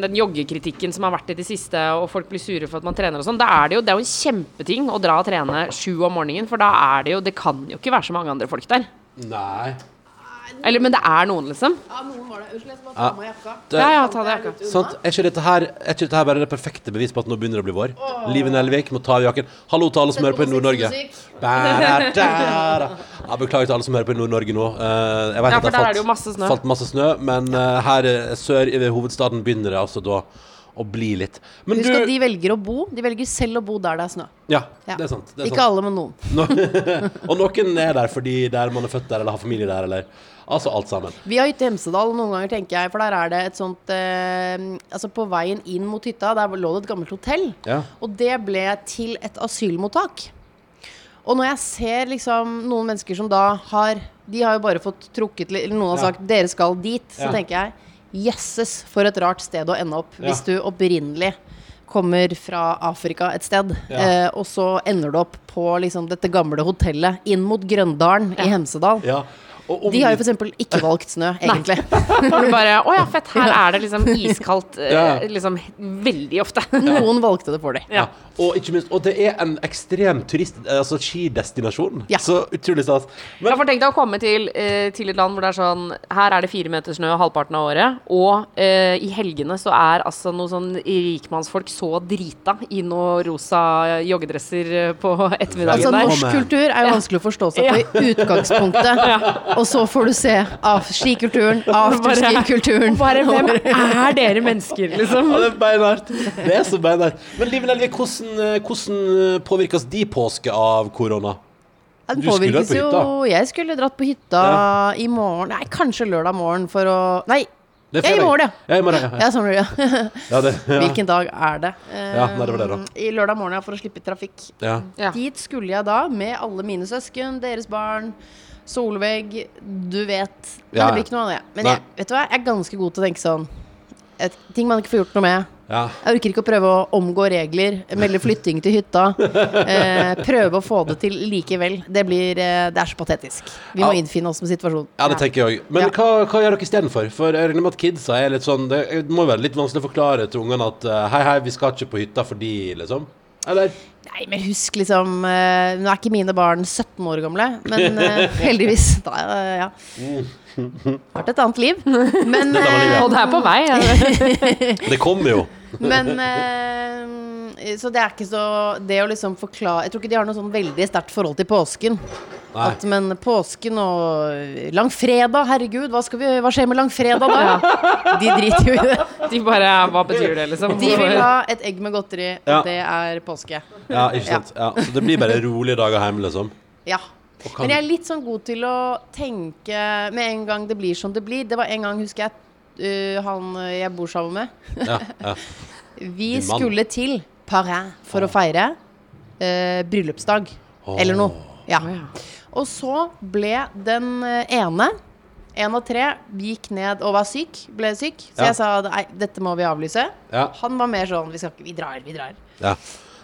den joggekritikken som har vært i det siste, og folk blir sure for at man trener og sånn, da er det jo, det er jo en kjempeting å dra og trene sju om morgenen, for da er det jo Det kan jo ikke være så mange andre folk der. Nei. Eller, men det er noen, liksom. Ja, noen var det. Unnskyld, jeg skal bare ta med jakka. Det, Ja, ja, ta det jakka. sant? Er, ikke dette her, er ikke dette her bare det perfekte bevis på at nå begynner det å bli vår? Live Nelvik må ta av jakken. Hallo til alle som Sett hører på i på Nord-Norge. musikk, Ba-da-da-da. Ja, beklager til alle som hører på i Nord-Norge nå. Eh, jeg vet at Ja, for det der er falt, det jo masse snø. falt masse snø, men eh, her eh, sør i hovedstaden begynner det altså da å bli litt. Men Husk at du de velger å bo. De velger selv å bo der det er snø. Ja, Ja. det er sant. Det er Ikke sant. alle, men noen. Og noen er der fordi der man er født der, eller har familie der, eller Altså alt sammen. Vi har hytte i Hemsedal noen ganger, tenker jeg, for der er det et sånt eh, Altså, på veien inn mot hytta, der lå det et gammelt hotell. Ja. Og det ble til et asylmottak. Og når jeg ser liksom noen mennesker som da har De har jo bare fått trukket litt, eller noen har Ja. sagt 'dere skal dit', så Ja. tenker jeg jesses, for et rart sted å ende opp. Hvis du opprinnelig kommer fra Afrika et sted, Ja. eh, og så ender du opp på liksom dette gamle hotellet inn mot Grøndalen i Hemsedal. ja. Og om De har du- jo f.eks. ikke valgt snø, egentlig. Hvor du bare Å ja, fett. Her er det liksom iskaldt eh, Ja. liksom veldig ofte. Noen valgte det for dem. Ja. Ja. Og ikke minst, og det er en ekstrem turist, eh, altså skidestinasjon. Ja. Så utrolig stas. Men Ja, for tenk deg å komme til, eh, til et land hvor det er sånn Her er det fire meter snø halvparten av året, og eh, i helgene så er altså noen sånn rikmannsfolk så drita i noen rosa joggedresser eh, på Altså, ettermiddagen der. norsk kultur er jo vanskelig å forstå seg på i utgangspunktet. Og så får du se av skikulturen, afterski-kulturen. Og bare Hvem er dere mennesker, liksom? ja, det er beinhardt. Det er så beinhardt. Men Liv Nelvik, hvordan, eh, hvordan påvirkes de påske av korona? Ja, Den Du skulle påvirkes vært på jo Jeg skulle dratt på hytta Ja. i morgen. Nei, kanskje lørdag morgen for å Nei, Det Ja, i fredag. morgen, ja. ja. i morgen, ja. ja, sånn blir det. Ja, det, ja. Hvilken dag er det? Eh, Ja, nei, det var det da. I lørdag morgen, ja, for å slippe trafikk. Ja. Ja. Dit skulle jeg da med alle mine søsken, deres barn, Solveig, du vet. Nei, Ja, ja. det blir ikke noe av det. Men Nei. jeg, vet du hva, jeg er ganske god til å tenke sånn et, Ting man ikke får gjort noe med. Ja. Jeg orker ikke å prøve å omgå regler, melde flytting til hytta. Eh, prøve å få det til likevel. Det, blir, eh, det er så patetisk. Vi må Ja. innfinne oss med situasjonen. Ja, det tenker jeg òg. Men Ja. hva, hva gjør dere istedenfor? For jeg regner med at kidsa er litt sånn Det må jo være litt vanskelig å forklare til ungene at eh, hei, hei, vi skal ikke på hytta fordi, liksom. Eller? Nei, men husk liksom eh, Nå er ikke mine barn 17 år gamle, men eh, heldigvis. Da, eh, ja. Mm. Vært et annet liv. Men, eh, Og det er på vei. Ja. Det kommer jo. men eh, Så det er ikke så Det å liksom forklare Jeg tror ikke de har noe sånn veldig sterkt forhold til påsken. Nei. At, men påsken og eh, langfredag, herregud, hva, skal vi, hva skjer med langfredag da? De driter jo i det. De bare Hva betyr det, liksom? De vil ha et egg med godteri, og Ja. det er påske. Ja, ikke sant. Ja. Så det blir bare rolige dager hjemme, liksom. Ja. Og kan- Men jeg er litt sånn god til å tenke med en gang det blir som det blir. Det var en gang, husker jeg, uh, han uh, jeg bor sammen med Ja, ja. Vi Din mann. skulle til Paris for å feire uh, bryllupsdag Åh. eller noe. Ja. Å, ja. Og så ble den eh, ene, en av tre, gikk ned og var syk. Ble syk. Så Ja. jeg sa nei, dette må vi avlyse. Ja. Han var mer sånn vi skal ikke, vi drar, vi drar. Ja.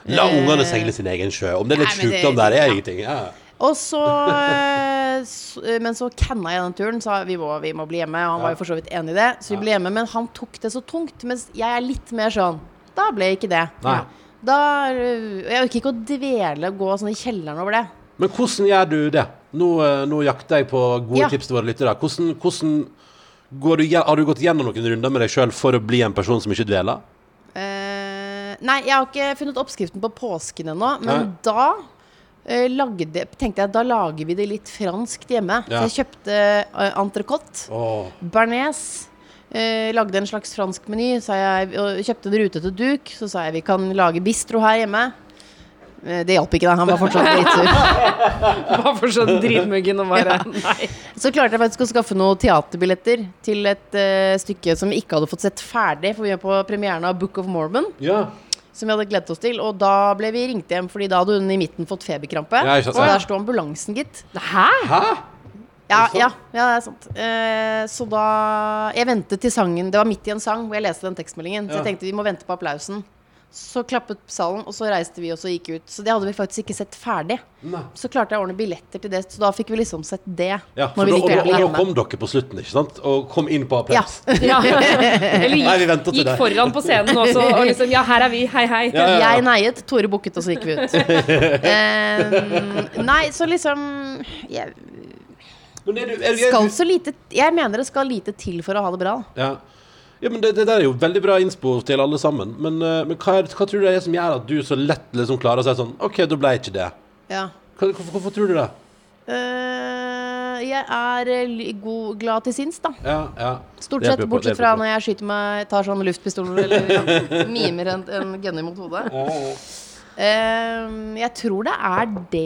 La ungene seile sin egen sjø. Om det er litt Eh, Nei, men det- sjukdom der, er ja. ingenting. Ja. Og så eh, s- eh, Men så canna jeg den turen, sa vi må, vi må bli hjemme. Og han var jo for så vidt enig i det, så vi ble hjemme. Men han tok det så tungt. Mens jeg er litt mer sånn Da ble ikke det. Nei. Da eh, Jeg orker ikke å dvele og gå sånn i kjelleren over det. Men hvordan gjør du det? Nå, eh, nå jakter jeg på gode Ja. tips til våre lyttere. Hvordan, hvordan går du, gje- har du gått gjennom noen runder med deg sjøl for å bli en person som ikke dveler? Eh, nei, jeg har ikke funnet oppskriften på påsken ennå, men Nei. da eh, lagde, tenkte jeg da lager vi det litt franskt hjemme. Ja. Så jeg kjøpte uh, entrecôte, Åh. bearnés, eh, lagde en slags fransk meny, sa jeg, og kjøpte en rutete duk. Så sa jeg vi kan lage bistro her hjemme. Eh, det hjalp ikke, da. Han var fortsatt dritsur. Bare for sånn dritmuggen og bare Nei. Så klarte jeg faktisk å skaffe noen teaterbilletter til et eh, stykke som vi ikke hadde fått sett ferdig, for vi var på premieren av Book of Mormon. Ja. som vi hadde gledet oss til. Og da ble vi ringt hjem, Fordi da hadde hun i midten fått feberkrampe. Ja, ikke sant, og ja. der sto ambulansen, gitt. Hæ? Hæ? Ja, Er det ja, sant? ja, det er sant. Eh, så da Jeg ventet til sangen Det var midt i en sang hvor jeg leste den tekstmeldingen. Så Ja. jeg tenkte vi må vente på applausen. Så klappet salen, og så reiste vi og så gikk ut. Så det hadde vi faktisk ikke sett ferdig. Nei. Så klarte jeg å ordne billetter til det, så da fikk vi liksom sett det. Ja, når for vi da, og, gikk da, på og da hjemme. kom dere på slutten, ikke sant? Og kom inn på Ja. applaus. Ja. Nei, Eller vi gikk, venter til gikk deg. foran på scenen også og liksom Ja, her er vi. Hei, hei. Ja, ja, ja. Jeg neiet, Tore bukket, og så gikk vi ut. Eh, nei, så liksom jeg, Men er du, er, er, Skal så lite Jeg mener det skal lite til for å ha det bra. da. Ja. ja, men det, det der er jo veldig bra innspo til alle sammen. Men, eh, men hva, er, hva tror du det er som gjør at du så lett liksom klarer å si sånn OK, da ble jeg ikke det. Ja. Hva, hvorfor, hvorfor tror du det? Eh, jeg er eh, li- god, glad til sinns, da. Ja, ja. Stort Det sett, hjelper på, det bortsett hjelper fra på. når jeg skyter meg, tar sånne luftpistoler eller ja, mimer en, en gunner mot hodet. Ehm, jeg tror det er det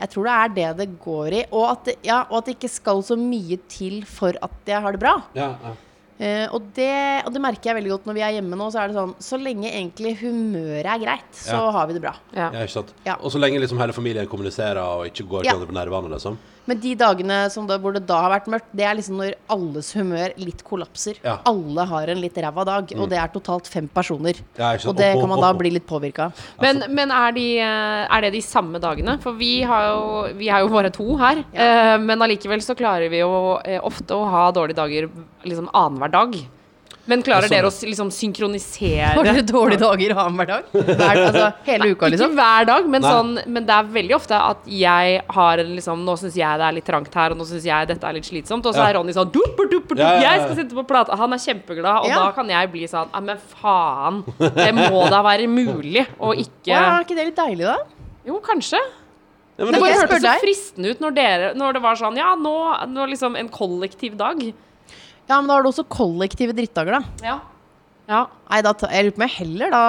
Jeg tror det er det det går i. Og at, det- ja, og at det ikke skal så mye til for at jeg har det bra. Ja, ja. Eh, og, det, og det merker jeg veldig godt når vi er hjemme nå. Så er det sånn, så lenge egentlig humøret er greit, så Ja. har vi det bra. Ja. Ja, ikke sant? Ja. Og så lenge liksom hele familien kommuniserer og ikke går Ja. hverandre på nervene, liksom. Men de dagene som da, hvor det da har vært mørkt, det er liksom når alles humør litt kollapser. Ja. Mm. Alle har en litt ræva dag, og det er totalt fem personer. Ja, ikke sant? og det Opp, opp, kan man da opp, opp. bli litt påvirka av. Men, Altså- men er, de, eh, er det de samme dagene? For vi, har jo, vi er jo bare to her. Eh, men allikevel så klarer vi jo eh, ofte å ha dårlige dager liksom annenhver dag. Men klarer Det er sånn, dere å s- liksom synkronisere Har dere dårlige dager annenhver dag? Hver, altså, hele uka, Ikke liksom? hver dag, men, Nei. sånn, men det er veldig ofte at jeg har en liksom Nå syns jeg det er litt trangt her, og nå syns jeg dette er litt slitsomt. Og så Ja. er Ronny sånn dup, dup, dup, dup, Ja, ja, ja. Jeg skal sitte på plata. Han er kjempeglad, og Ja. da kan jeg bli sånn Nei, men faen. Det må da være mulig å Å, ikke ja, er ikke det litt deilig, da? Jo, kanskje. Ja, men Det Men bare jeg hørtes spør så deg. fristende ut når, dere, når det var sånn Ja, nå, nå liksom en kollektiv dag. Ja, men da har du også kollektive drittdager, da. Ja. ja. Nei, da ta, jeg lurer på om jeg heller da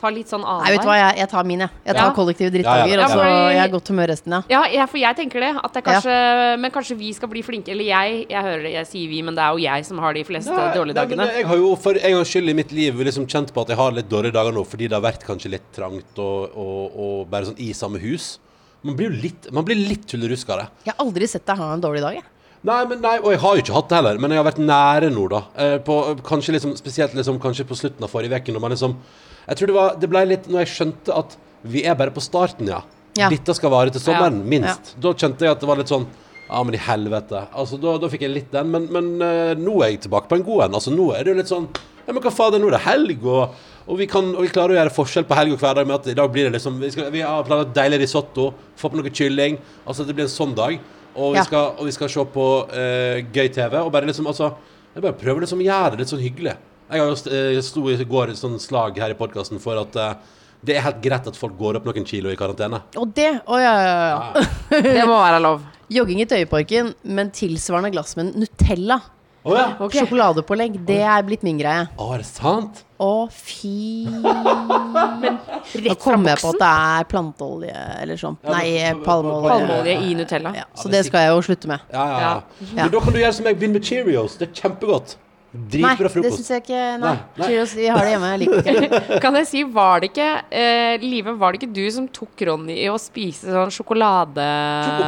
Ta litt sånn Nei, vet du hva, annenhver. jeg, jeg tar min, jeg. Jeg tar Ja. kollektive Ja, ja, drittdager, ja. og så Ja, fordi- jeg har godt humør resten, ja. Ja, jeg, for jeg tenker det. At det kanskje, Men kanskje vi skal bli flinke. Eller jeg. Jeg hører det, jeg sier vi, men det er jo jeg som har de fleste Nei, dårlige nei, men dagene. Jeg har jo for en gangs skyld i mitt liv liksom kjent på at jeg har litt dårlige dager nå fordi det har vært kanskje litt trangt og, og, og bare sånn i samme hus. Man blir jo litt, man blir litt tullerusk av det. Jeg har aldri sett deg ha en dårlig dag, jeg. Nei, men nei, og jeg har jo ikke hatt det heller, men jeg har vært nære nå, da. Eh, på, kanskje liksom, spesielt liksom, kanskje på slutten av forrige uke, når man liksom Jeg tror det var Det ble litt når jeg skjønte at vi er bare på starten, ja. Ja. Dette skal vare til sommeren, Ja, minst. Da kjente jeg at det var litt sånn Ja, men i helvete. Altså, da, da fikk jeg litt den, men, men eh, nå er jeg tilbake på en god en. Altså, nå er det jo litt sånn Ja, men hva fader, nå er det helg, og, og, vi kan, og vi klarer å gjøre forskjell på helg og hverdag med at i dag blir det liksom Vi, skal, vi har planlagt deilig risotto, få på noe kylling. Altså, det blir en sånn dag. Og vi, Ja. skal, og vi skal se på eh, gøy TV. Og bare liksom, altså Jeg bare prøver liksom å gjøre det litt sånn hyggelig. Jeg har jo st- eh, sto i går et sånn slag her i podkasten for at eh, det er helt greit at folk går opp noen kilo i karantene. Og det Å, ja, ja, ja, ja. Det må være lov. Jogging i Tøyeparken, men tilsvarende glass med Nutella. Å ja! Ok. Sjokoladepålegg, det er blitt min greie. Å, er det sant? Å, fy Nå kom jeg på at det er planteolje eller sånn. Ja, Nei, men- palmeolje. Palmeolje i Nutella. Ja, så det skal jeg jo slutte med. Ja, ja, ja. Ja. Men da kan du gjøre som jeg, begynn med Cheerios. Det er kjempegodt. Nei, Dritbra det frokost. syns jeg ikke. Nei. Nei, nei. Cheerios, vi har det hjemme. Jeg liker det ikke. Kan jeg si, var det ikke eh, Live, var det ikke du som tok Ronny i å spise sånn sjokolade...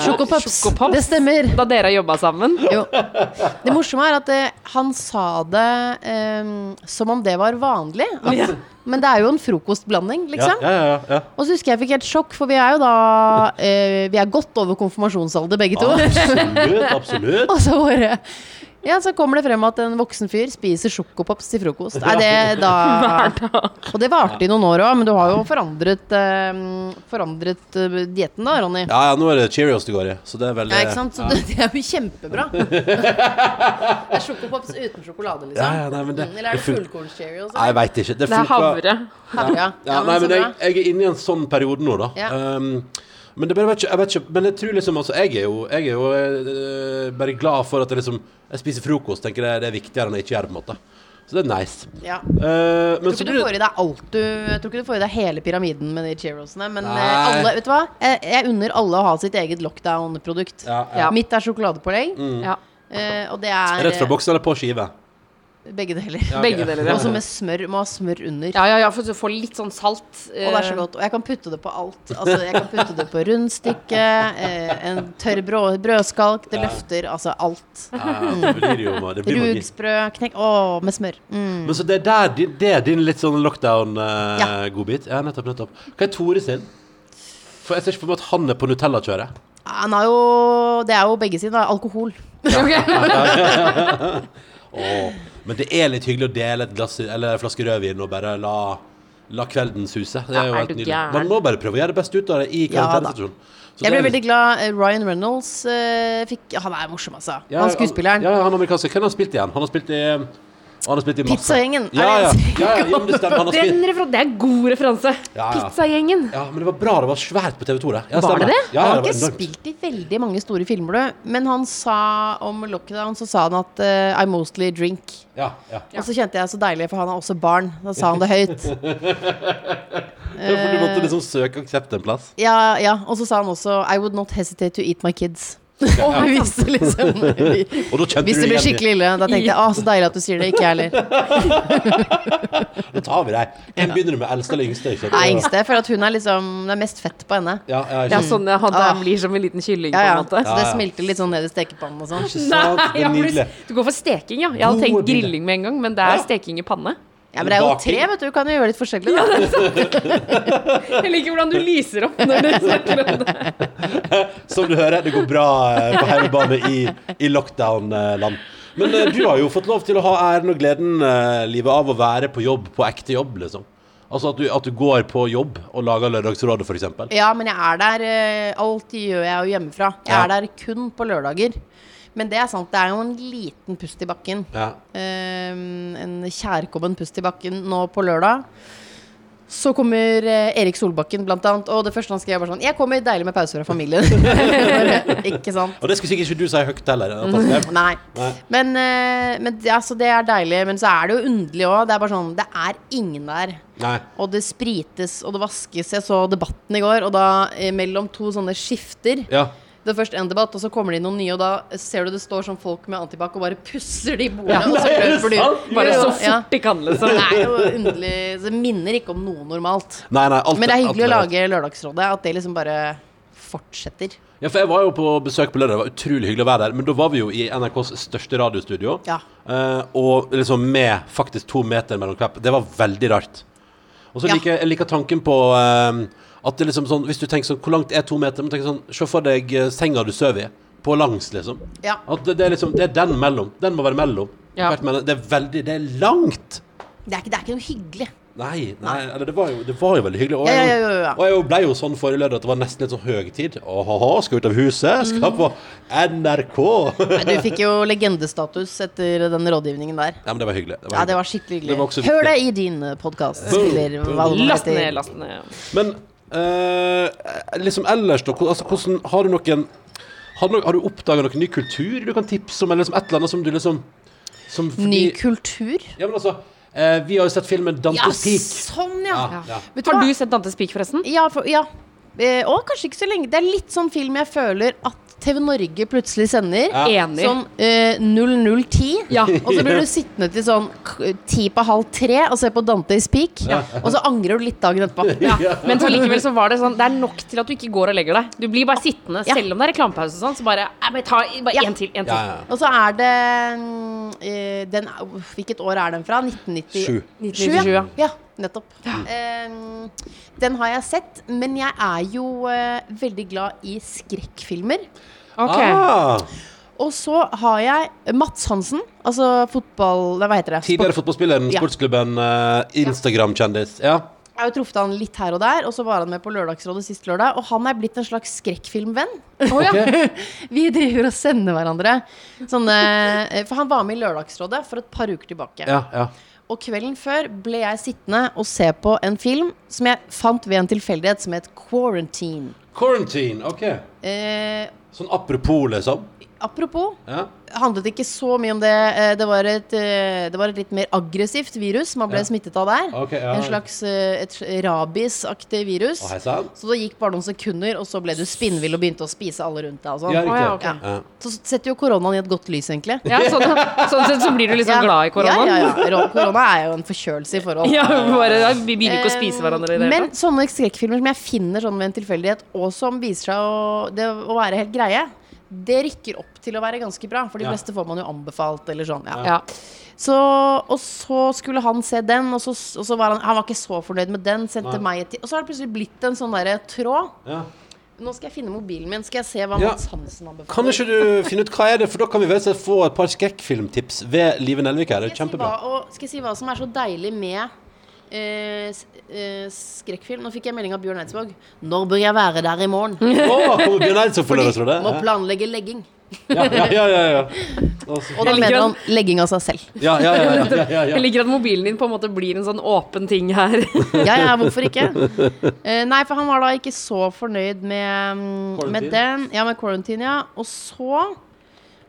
Sjokopops. Sjokopops? Det stemmer. Da dere jobba sammen? Jo. Det morsomme er at eh, han sa det eh, som om det var vanlig. At, Ja. Men det er jo en frokostblanding, liksom. Ja, ja, ja, ja. Og så husker jeg jeg fikk helt sjokk, for vi er jo da eh, Vi er godt over konfirmasjonsalder, begge to. Absolutt, absolutt. Og så bare Ja, så kommer det frem at en voksen fyr spiser sjokopops til frokost. Er det da Og det varte i noen år òg, men du har jo forandret, eh, forandret eh, dietten da, Ronny. Ja, ja, nå er det Cheerios det går i, så det er veldig Ja, ikke sant? Så det, det er jo kjempebra. Det er sjokopops uten sjokolade, liksom. Ja, ja, nei, men det- Mm, Eller er det det fun- fullkorns-cheerios? eh, Nei, jeg veit ikke. Det Det er funker- havre. Ja, ja, Ja, nei, men så men jeg, bra. jeg er inne i en sånn periode nå, da. Ja. Um, men, det bare, vet ikke, jeg vet ikke, men jeg tror liksom altså, Jeg er jo, jeg er jo eh, bare glad for at jeg liksom Jeg spiser frokost. Tenker det, det er viktigere enn jeg ikke gjør det, på en måte. Så det er nice. ja. Eh, men Tror så ikke du blir får i deg alt du Jeg tror ikke du får i deg hele pyramiden med de cheerosene, men eh, Nei. alle Vet du hva? Jeg, jeg unner alle å ha sitt eget lockdown-produkt. ja, ja. Mm. Ja. Mitt er sjokoladepålegg, Ja. eh, og det er Rett fra boksen eller på skive? eh, begge deler. Ja, ok. Begge deler, ja. Også med smør. Må ha smør under. Ja, ja, ja, for å få litt sånn salt. Og det er så godt. Og jeg kan putte det på alt. Altså, jeg kan putte det på rundstykke, eh, en tørr brå- brødskalk, det løfter altså alt. Ja, det blir jo det blir magi. Rugsprø, knekk Å, med smør. Mm. Men så det er, der, din- det er din litt sånn Ja. lockdown-godbit? ja, nettopp, nettopp. Hva er Tore sin? For jeg ser ikke for meg at han er på Nutella-kjøret. Han har jo Det er Ah, jo begge sider. da. Alkohol. Åh, men det er litt hyggelig å dele et glass, eller en flaske rødvin og bare la, La kvelden suse. Det er jo er helt du nydelig. gæren? Man må bare prøve å gjøre det beste ut av det i Ja, da. karantenesituasjonen. Så Jeg det ble er veldig glad. eh, Ryan Reynolds eh, fikk Han er morsom, altså. Ja, han skuespilleren. Ja, ja, han amerikanske. Hvem har han spilt igjen? Han har spilt i han har spilt i masse. Pizzagjengen, er Ja, ja. det ja, ja, ja men det stemmer. Han har Den spilt. refer- det er god referanse. Ja, ja. Pizzagjengen. Ja, men det var bra. Det var svært på TV 2, det. Ja, Var stemmer. det det? Ja, han ja, har det ikke var enormt. spilt i veldig mange store filmer, du. Men han sa om lockdown så sa han at eh, I mostly drink. Ja, ja. Og så kjente jeg så deilig, for han er også barn. Da sa han det høyt. Eh. Ja, for du måtte liksom søke aksept en plass. Ja, ja. Og så sa han også I would not hesitate to eat my kids. Og jeg visste liksom Og da kjente Hvis du igjen det blir skikkelig ille, da tenkte jeg å, så deilig at du sier det. Ikke jeg heller. Da tar vi deg. Hvem begynner du med? Eldste eller yngste? Ikke? Nei, yngste. Jeg føler at hun er liksom Det er mest fett på henne. Ja, ja, Ja, ikke sant. sånn eh, han der Ah. blir som en liten kylling, Ja, ja. på en måte. Så det Mm. Ja, ja. smelter litt sånn ned i stekepannen og sånn. Ikke sant? Det er jeg nydelig. blir- du går for steking, ja. Jeg hadde Gode tenkt bilder. grilling med en gang, men det er Ja. steking i panne. Ja, men det er jo tre, vet du. Du kan jo gjøre litt forskjellig, da. Jeg liker hvordan du lyser opp når du snakker om det. Som du hører, det går bra eh, på hjemmebane i, i lockdown-land. Men eh, du har jo fått lov til å ha æren og gleden, eh, livet, av å være på jobb, på ekte jobb, liksom. Altså at du, at du går på jobb og lager Lørdagsrådet, for eksempel. Ja, men jeg er der eh, Alt gjør jeg jo hjemmefra. Jeg Ja. er der kun på lørdager. Men det er sant, det er jo en liten pust i bakken. Ja. Eh, en kjærkommen pust i bakken nå på lørdag. Så kommer eh, Erik Solbakken, blant annet. Og det første han skrev, var sånn Jeg kommer deilig med pause fra familien. Bare, Ikke sant? Og det skulle sikkert ikke du si høyt heller. At han skrev. Nei. Nei. Men, eh, men det- altså, det er deilig. Men så er det jo underlig òg. Det er bare sånn Det er ingen der. Nei. Og det sprites og det vaskes. Jeg så debatten i går, og da eh, mellom to sånne skifter Ja. Det er først en debatt, og så kommer det inn noen nye, og da ser du det står sånn folk med antibac og bare pusser de bordene. og så nei, er det løper de sant? ut. Bare Jo, så jo, ja. fort de kan, liksom. Det er jo underlig. så Det minner ikke om noe normalt. Nei, nei, alt, Men det alt er hyggelig å er- lage Lørdagsrådet. At det liksom bare fortsetter. Ja, for jeg var jo på besøk på lørdag, det var utrolig hyggelig å være der. Men da var vi jo i NRKs største radiostudio. Ja. Eh, og liksom med faktisk to meter mellom kvepp. Det var veldig rart. Og så Ja. liker jeg- jeg liker tanken på eh, at det liksom sånn Hvis du tenker sånn Hvor langt er to meter? Men tenk sånn Se for deg eh, senga du sover i. På langs, liksom. Ja. At det, det er liksom Det er den mellom. Den må være mellom. Ja. Hvert mellom. Det er veldig Det er langt! Det er ikke, det er ikke noe hyggelig. Nei, nei, eller det var jo, det var jo veldig hyggelig. Og Ja, jeg, ja, ja, ja. Og jeg ble jo sånn forrige lørdag at det var nesten litt sånn høytid. Åhåhå, skal ut av huset, Mm. skal på NRK. ja, Nei, du fikk jo legendestatus etter den rådgivningen der. men det var hyggelig. Det var Ja, det var hyggelig. skikkelig Det var hyggelig. også viktig. Hør det i din podkast. Last ned, last ned. Men eh, liksom ellers, da, hvor- altså, hvordan har du noen har du, noen- har du oppdaga noen ny kultur du kan tipse om, eller liksom et eller annet som du liksom som, Ny fordi- kultur. Ja, men altså, eh, vi har jo sett filmen Ja, Dantes Peak. sånn, ja. Ja, ja. Vet Har hva? du sett Dantes Peak, forresten? Ja, for, ja. Eh, og kanskje ikke så lenge. Det er litt sånn film jeg føler at TV Norge plutselig sender. Ja. Enig. Sånn eh, 0010. Ja. Og så blir du sittende til sånn k- ti på halv tre og se på Dantes Peak. Og så angrer du litt dagen etterpå. Ja. Men så likevel så var det sånn Det er nok til at du ikke går og legger deg. Du blir bare sittende, Ja. selv om det er reklamepause og sånn. Så bare, «Nei, men ta bare Ja. en til. En til. Ja, ja. Og så er det mm, eh, den, er- uff, Hvilket år er den fra? 1997? Sju. 1997, ja. ja. ja. Nettopp. Eh, den har jeg sett, men jeg er jo eh, veldig glad i skrekkfilmer. Ok. Ah, Og så har jeg Mats Hansen, altså fotball... Nei, hva heter det? tidligere fotballspilleren, Ja. sportsklubben, eh, Instagram-kjendis. Ja. Jeg har jo truffet han litt her og der, og så var han med på Lørdagsrådet sist lørdag. Og han er blitt en slags skrekkfilmvenn. Å, ja. Vi driver og sender hverandre sånne eh, For han var med i Lørdagsrådet for et par uker tilbake. Ja, ja. Og kvelden før ble jeg sittende og se på en film som jeg fant ved en tilfeldighet, som het Quarantine. Quarantine, OK. Eh, Sånn apropos, liksom. apropos, Ja. handlet ikke så mye om det. Eh, Det var et, eh, det var et litt mer aggressivt virus man ble Ja. smittet av der. Ok, ja. En slags eh, et rabiesaktig virus. Å, hei sann. Så det gikk bare noen sekunder, og så ble du spinnvill og begynte å spise alle rundt deg. Og sånn. Ja, riktig. ja, ok. Ja. Ja. Så setter jo koronaen i et godt lys, egentlig. ja sånn, sånn sett så blir du liksom glad i koronaen. Ja, ja, ja. Ro- Korona er jo en forkjølelse i forhold. Ja, bare, da begynner ikke å spise hverandre i det Men hele tatt. sånne skrekkfilmer som jeg finner sånn ved en tilfeldighet, og som viser seg å, det, å være helt greie, det rykker opp til å være ganske bra. For de Ja. fleste får man jo anbefalt, eller sånn. Ja. Ja. Så, og så skulle han se den, og så, og så var han, han var ikke så fornøyd med den. Sendte Nei. meg et til. Og så har det plutselig blitt en sånn derre tråd. Ja. Nå skal jeg finne mobilen min, skal jeg se hva Ja. Mads Hansen anbefaler. Kan ikke du finne ut hva er det, for da kan vi vel se- få et par skrekkfilmtips ved Live Nelvik her. Det er jo skal jeg, si hva, kjempebra. og, skal jeg si hva som er så deilig med eh, s- eh, skrekkfilm. Nå fikk jeg melding av Bjørn Eidsvåg. 'Når bør jeg være der i morgen?' Å, kommer Bjørn Eidsvåg på Fordi lørdagsrådet? må planlegge legging. Ja, ja, ja. ja, ja. Altså, Og da Jeg liker mener at- han legging av seg selv. ja, ja, ja, ja, ja, ja, ja. Jeg liker at mobilen din på en måte blir en sånn åpen ting her. Ja, ja, hvorfor ikke? Eh, nei, for han var da ikke så fornøyd med, mm, med Quarantine. den. Ja, med quarantine, ja. Og så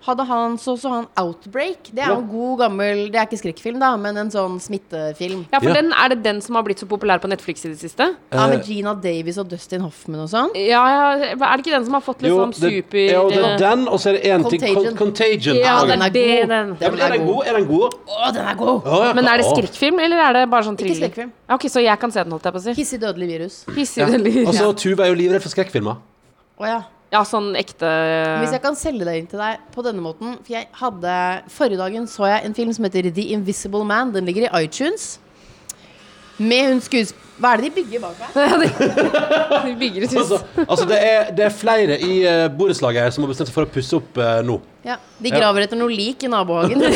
hadde han så så han Outbreak. Det er Ja. jo en god gammel Det er ikke skrekkfilm, da, men en sånn smittefilm. Ja, for Ja. den er det den som har blitt så populær på Netflix i det siste? Ja, Eh. med Gina Davies og Dustin Hoffman og sånn. Ja, ja, er det ikke den som har fått litt Jo, sånn det- super ja, det eh, var den, og så er det én ting Con- Contagion. Contagion. Ja, Ok. den er det, den. Ja, men er den god? Er den god? Å, den er god! Å, ja. Men er det Å. skrekkfilm, eller er det bare sånn thriller? skrekkfilm. Ja, Ok, så jeg kan se den, holdt jeg på å si. Hissig dødelig virus. Hissig Ja. eller Altså, Tuva er jo livredd for skrekkfilmer. Å ja. Ja, sånn ekte Hvis jeg kan selge det inn til deg på denne måten For jeg hadde Forrige dagen så jeg en film som heter The Invisible Man. Den ligger i iTunes. Med hun skuesp... Hva er det de bygger bak meg? Vi bygger et hus. Altså, altså det, er, det er flere i uh, borettslaget her som har bestemt seg for å pusse opp eh, nå. Ja, De graver etter noe lik i nabohagen. Det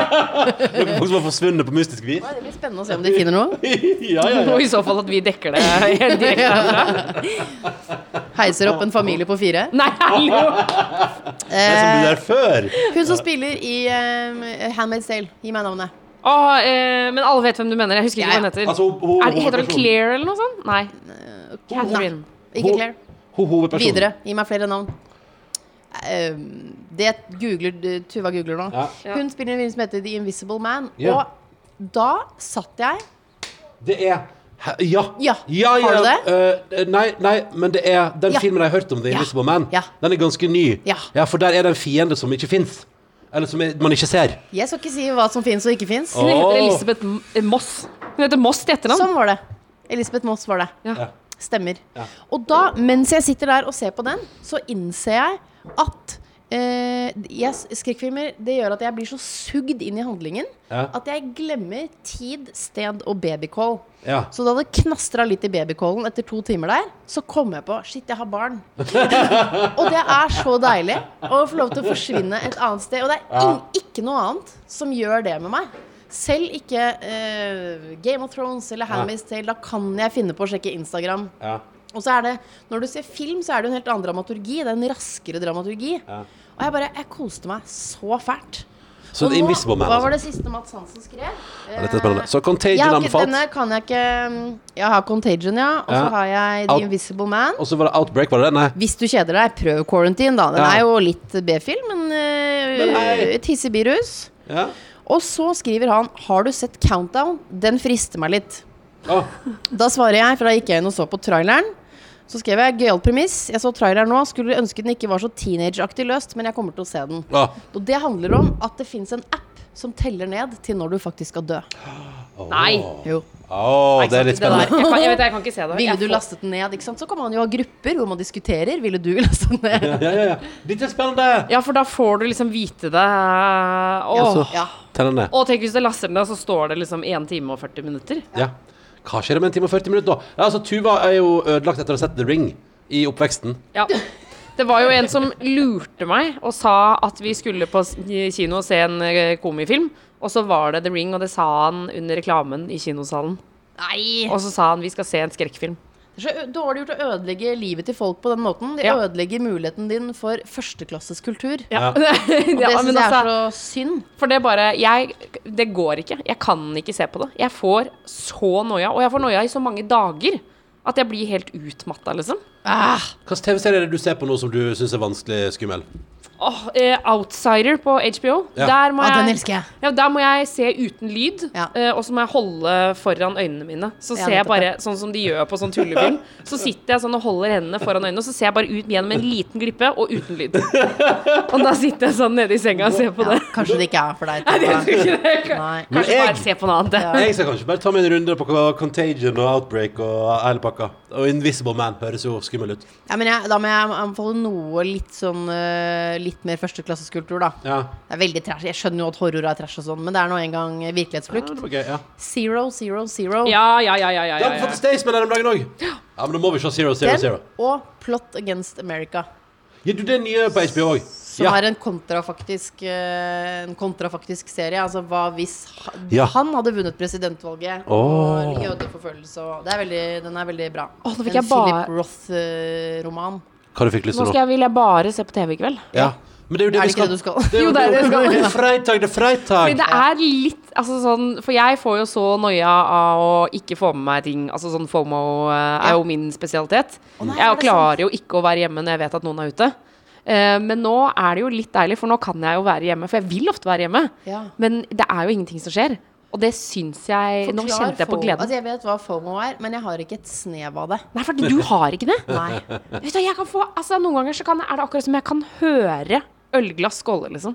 Noen folk som har forsvunnet på mystisk vis. blir spennende å se om de finner noe. ja, ja, ja. Og i så fall at vi dekker det helt direkte herfra. Heiser opp en familie på fire. Nei, hallo! Det er som Eh, det der før. hun som spiller i eh, Handmaid's Tale. Gi meg navnet. Å, eh, men alle vet hvem du mener. Jeg husker ikke Ja, ja. hva hun heter. Altså, ho- ho- er, det- heter hun hovedpersonen. Claire eller noe sånt? Nei. Catherine. Ikke Claire. Ho hovedpersonen. Videre. Gi meg flere navn. Eh, det googler Tuva googler nå. Ja. Ja. Hun spiller en film som heter The Invisible Man. Ja. Og da satt jeg Det er Hæ? Ja. Ja. ja, Har du ja. Eh, nei, nei, men det er den Ja. filmen jeg har hørt om, The Ja. Invisible Man. Ja. Den er ganske ny. Ja. For der er det en fiende som ikke fins. Eller som er- man ikke ser. Jeg skal ikke si hva som fins og ikke fins. Hun heter Åh. Elisabeth M- eh, Moss. Hun heter Moss til etternavn. Sånn var det. Elisabeth Moss var det. Ja. Stemmer. Ja. Og da, mens jeg sitter der og ser på den, så innser jeg at eh, jeg- skrekkfilmer det gjør at jeg blir så sugd inn i handlingen Ja. at jeg glemmer tid, sted og babycall. Ja. Så da det knastra litt i babycallen etter to timer der, så kom jeg på shit, jeg har barn. og det er så deilig å få lov til å forsvinne et annet sted. Og det er ing- ikke noe annet som gjør det med meg. Selv ikke eh, Game of Thrones eller Handmaid's Tale. Da kan jeg finne på å sjekke Instagram. Ja. Og så er det, når du ser film, så er det jo en helt annen dramaturgi. Det er en raskere dramaturgi. Ja. Og jeg bare, jeg koste meg så fælt. Så Og The nå- Invisible Man. Hva var altså. det siste Mads Hansen skrev? Ja, dette er spennende. Så Contagion Jeg har ikke, anbefalt. denne kan jeg ikke Jeg har Contagion, ja. Og så Ja. har jeg The Out- Invisible Man. Og så var det Outbreak, var det det? Nei. Hvis du kjeder deg, prøv Quarantine, da. Den Ja. er jo litt B-film, men Men uh, hei. et hissig virus. Ja. Og så skriver han 'Har du sett Countdown?' Den frister meg litt. Å, Da svarer jeg, for da gikk jeg inn og så på traileren. Så skrev jeg 'gøyal premiss'. Jeg så traileren nå. Skulle ønske den ikke var så teenageaktig løst, men jeg kommer til å se den. å. Og det handler om at det fins en app som teller ned til når du faktisk skal dø. Nei. Jo. Å, det er litt Det der, jeg, spennende. kan, jeg vet jeg kan ikke se det. Ville Jeg du får- lastet den ned? ikke sant? Så kan man jo ha grupper hvor man diskuterer. Ville du lastet den ned? Ja, ja, ja. Dette er spennende! Ja, for da får du liksom vite det. Åh. så- Ja. Tenn den ned. Og tenk hvis det laster ned, så står det liksom 1 time og 40 minutter. Ja. Hva skjer om en time og 40 minutter, da? Ja, altså, Tuva er jo ødelagt etter å ha sett The Ring i oppveksten. Ja. Det var jo en som lurte meg og sa at vi skulle på s- kino og se en eh, komifilm. Og så var det The Ring, og det sa han under reklamen i kinosalen. Nei! Og så sa han vi skal se en skrekkfilm. Det er så ø- dårlig gjort å ødelegge livet til folk på den måten. De Ja. ødelegger muligheten din for førsteklasses kultur. Ja. Og det Ja, synes men altså, jeg er så synd. For det bare jeg, Det går ikke. Jeg kan ikke se på det. Jeg får så noia. Og jeg får noia i så mange dager at jeg blir helt utmatta, liksom. Ah, Hvilken TV-serie er det du ser på nå som du syns er vanskelig skummel? Åh, eh, Outsider på HBO. Ja. Der må Ja, den jeg elsker jeg. Ja, der må jeg se uten lyd, Ja. eh, og så må jeg holde foran øynene mine. Så Ja, ser jeg nettopp bare, sånn som de gjør på sånn tullefilm, så sitter jeg sånn og holder hendene foran øynene, og så ser jeg bare ut gjennom en liten glippe og uten lyd. Og da sitter jeg sånn nede i senga og ser på ja, det. kanskje det ikke er for deg. Tara. Nei. Men Kanskje jeg- bare se på noe annet. jeg. Jeg skal kanskje bare ta meg en runde på hva Contagion og Outbreak og hele pakka. Og Invisible Man høres jo skummel ut. Ja, men jeg, da må jeg anbefale noe litt sånn ø, Litt mer førsteklasses kultur, da. Ja. Det er veldig trash. Jeg skjønner jo at horror er trash og sånn, men det er nå engang Ja, virkelighetsflukt. det var gøy, ja. Zero, zero, zero. Ja, ja, ja, ja, ja, Jeg ja, har fått ja. Staysman her om dagen òg. Ja, men da må vi se Zero Zero Den Zero. og Plot Against America. Gir du det nye på HBO òg? Som Ja. er en kontrafaktisk, eh, en kontrafaktisk serie. Altså hva hvis ha- Ja. han hadde vunnet presidentvalget Åh. og jødeforfølgelse og det er veldig, Den er veldig bra. Åh, nå fikk en jeg bare- Philip eh, Roth-roman. Hva har du fikk lyst Nå til skal nå? jeg, vil jeg bare se på TV i kveld. Ja. Men det er jo det, Er det vi skal. ikke det du skal? er Jo, det er det jeg skal. Det er freitag, det er Fordi freitag. det er litt altså sånn, For jeg får jo så noia av å ikke få med meg ting. Altså sånn FOMO eh, er jo min spesialitet. jeg klarer jo ikke å være hjemme når jeg vet at noen er ute. Eh, Men nå er det jo litt deilig, for nå kan jeg jo være hjemme. For jeg vil ofte være hjemme. Ja. Men det er jo ingenting som skjer. Og det syns jeg Nå Forklar kjente jeg på FOMO. gleden. Altså, jeg vet hva FOMO er, men jeg har ikke et snev av det. Nei, for du har ikke det. Nei. Vet du, hva, jeg kan få, altså Noen ganger så kan, er det akkurat som jeg kan høre ølglass skåle, liksom.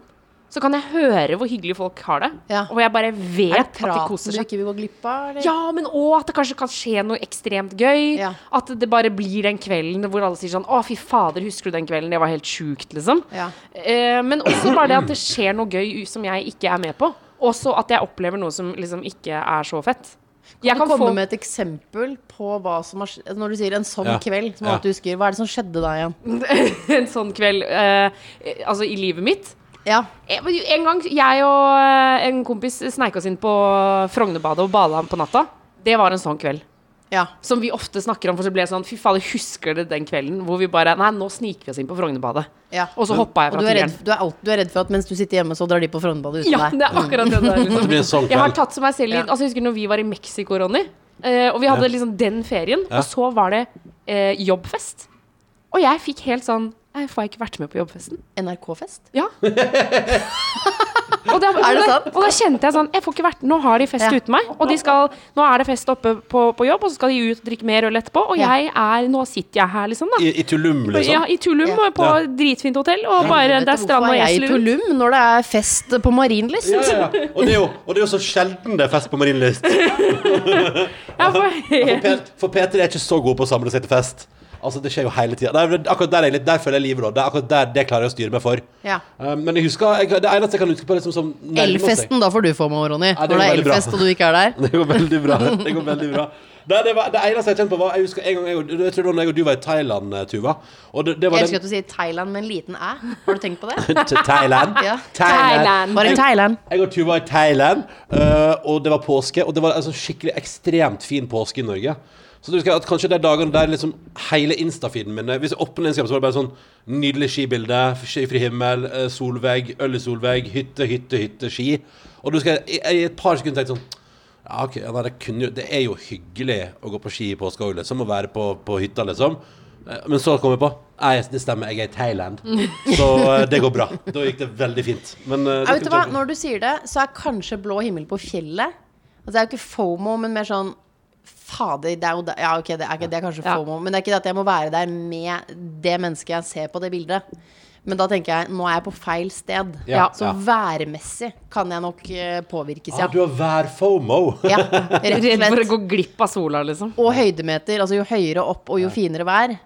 Så kan jeg høre hvor hyggelig folk har det. Ja. Og jeg bare vet Er det at de praten koser du seg. ikke vil gå glipp av? eller? Ja, men òg at det kanskje kan skje noe ekstremt gøy. Ja. At det bare blir den kvelden hvor alle sier sånn Å, fy fader, husker du den kvelden? Det var helt sjukt, liksom. Ja. Eh, men også bare det at det skjer noe gøy som jeg ikke er med på. Også at jeg opplever noe som liksom ikke er så fett. Jeg Kan du komme få- med et eksempel på hva som har skjedd Når du sier 'en sånn Ja. kveld', som Ja. alt du husker, hva er det som skjedde da igjen? en sånn kveld eh, eh, Altså i livet mitt. Ja. Eh, men En gang jeg og eh, en kompis sneik oss inn på Frognerbadet og bada på natta. Det var en sånn kveld. ja. Som vi ofte snakker om, for så ble det sånn Fy fader, husker du den kvelden hvor vi bare Nei, nå sniker vi oss inn på Frognerbadet. ja. Og så hoppa jeg fra Og du er, redd, tieren. du, er alt, du er redd for at mens du sitter hjemme, så drar de på Frognerbadet uten Ja, deg? det er akkurat det der. Liksom. Det blir en sånn Jeg har kveld. tatt som meg selv litt Ja. Altså, jeg husker når vi var i Mexico, Ronny. eh, og vi hadde liksom den ferien. Ja. Og så var det eh, jobbfest. Og jeg fikk helt sånn Nei, får jeg ikke vært med på jobbfesten? NRK-fest? Ja. og da, Er det sant? Og da kjente jeg sånn Jeg får ikke vært Nå har de fest Ja. uten meg. Og de skal Nå er det fest oppe på, på jobb, og så skal de ut og drikke mer øl etterpå. Og Ja. jeg er Nå sitter jeg her, liksom, da. I, I Tulum, Ja, liksom. I Tulum, Ja. på dritfint hotell, og bare Vet du Det er strand hvorfor og er jeg i gjester rundt. Tulum når det er fest på Marienlyst? Ja, ja, ja. Og, det er jo, og det er jo så sjelden det er fest på Marienlyst. Ja, for- For P- For Peter er ikke så god på å samle seg til fest. Altså, det skjer jo hele tida. Akkurat der, er jeg litt- der føler jeg livet, da. Det, er akkurat der, det klarer jeg å styre meg for. Ja. Eh, men jeg husker, jeg, det eneste jeg kan huske på, liksom som nærmer seg- Elfesten, da får du FOMO, Ronny. Ja, det går når det er veldig bra. elfest og du ikke er der. Det går veldig bra. Det går veldig bra. Nei, det, var, det eneste jeg kjente på, var Jeg husker en gang jeg, og- jeg tror det var når jeg og du var i Thailand, eh, Tuva. Og det, det var Jeg elsker at du sier Thailand med en liten æ. Har du tenkt på det? den, til Thailand. Ja. Thailand. Bare Thailand. Jeg og Tuva var i Thailand, øh, og det var påske. Og det var en sånn skikkelig ekstremt fin påske i Norge. Så du husker at kanskje de dagene der liksom hele Insta-feeden min eh, Hvis jeg åpner Instagram, så var det bare sånn nydelig skibilde, skifri himmel, øh, Solveig, øl i Solveig, hytte, hytte, hytte, ski. Og du husker jeg jeg i et par sekunder tenkte sånn ja, ok, ja, nei, det, kunne, jo- det er jo hyggelig å gå på ski i påska òg, liksom. Å være på, på hytta, liksom. Eh, Men så kom jeg på Nei, det stemmer, jeg er i Thailand. Så eh, det går bra. Da gikk det veldig fint. Men eh, Ja, vet det du kunne hva? ta- Når du sier det, så er kanskje blå himmel på fjellet Altså, det er jo ikke FOMO, men mer sånn Fader, det er jo da- Ja, ok, det er, ikke, det er kanskje Ja. FOMO, men det er ikke det at jeg må være der med det mennesket jeg ser på det bildet. Men da tenker jeg nå er jeg på feil sted. Ja, Så ja. værmessig kan jeg nok eh, påvirkes, ja. Ah, du har vær FOMO. ja. Rett og Redd for å slett. gå glipp av sola, liksom. Og høydemeter. Altså jo høyere opp og jo finere vær,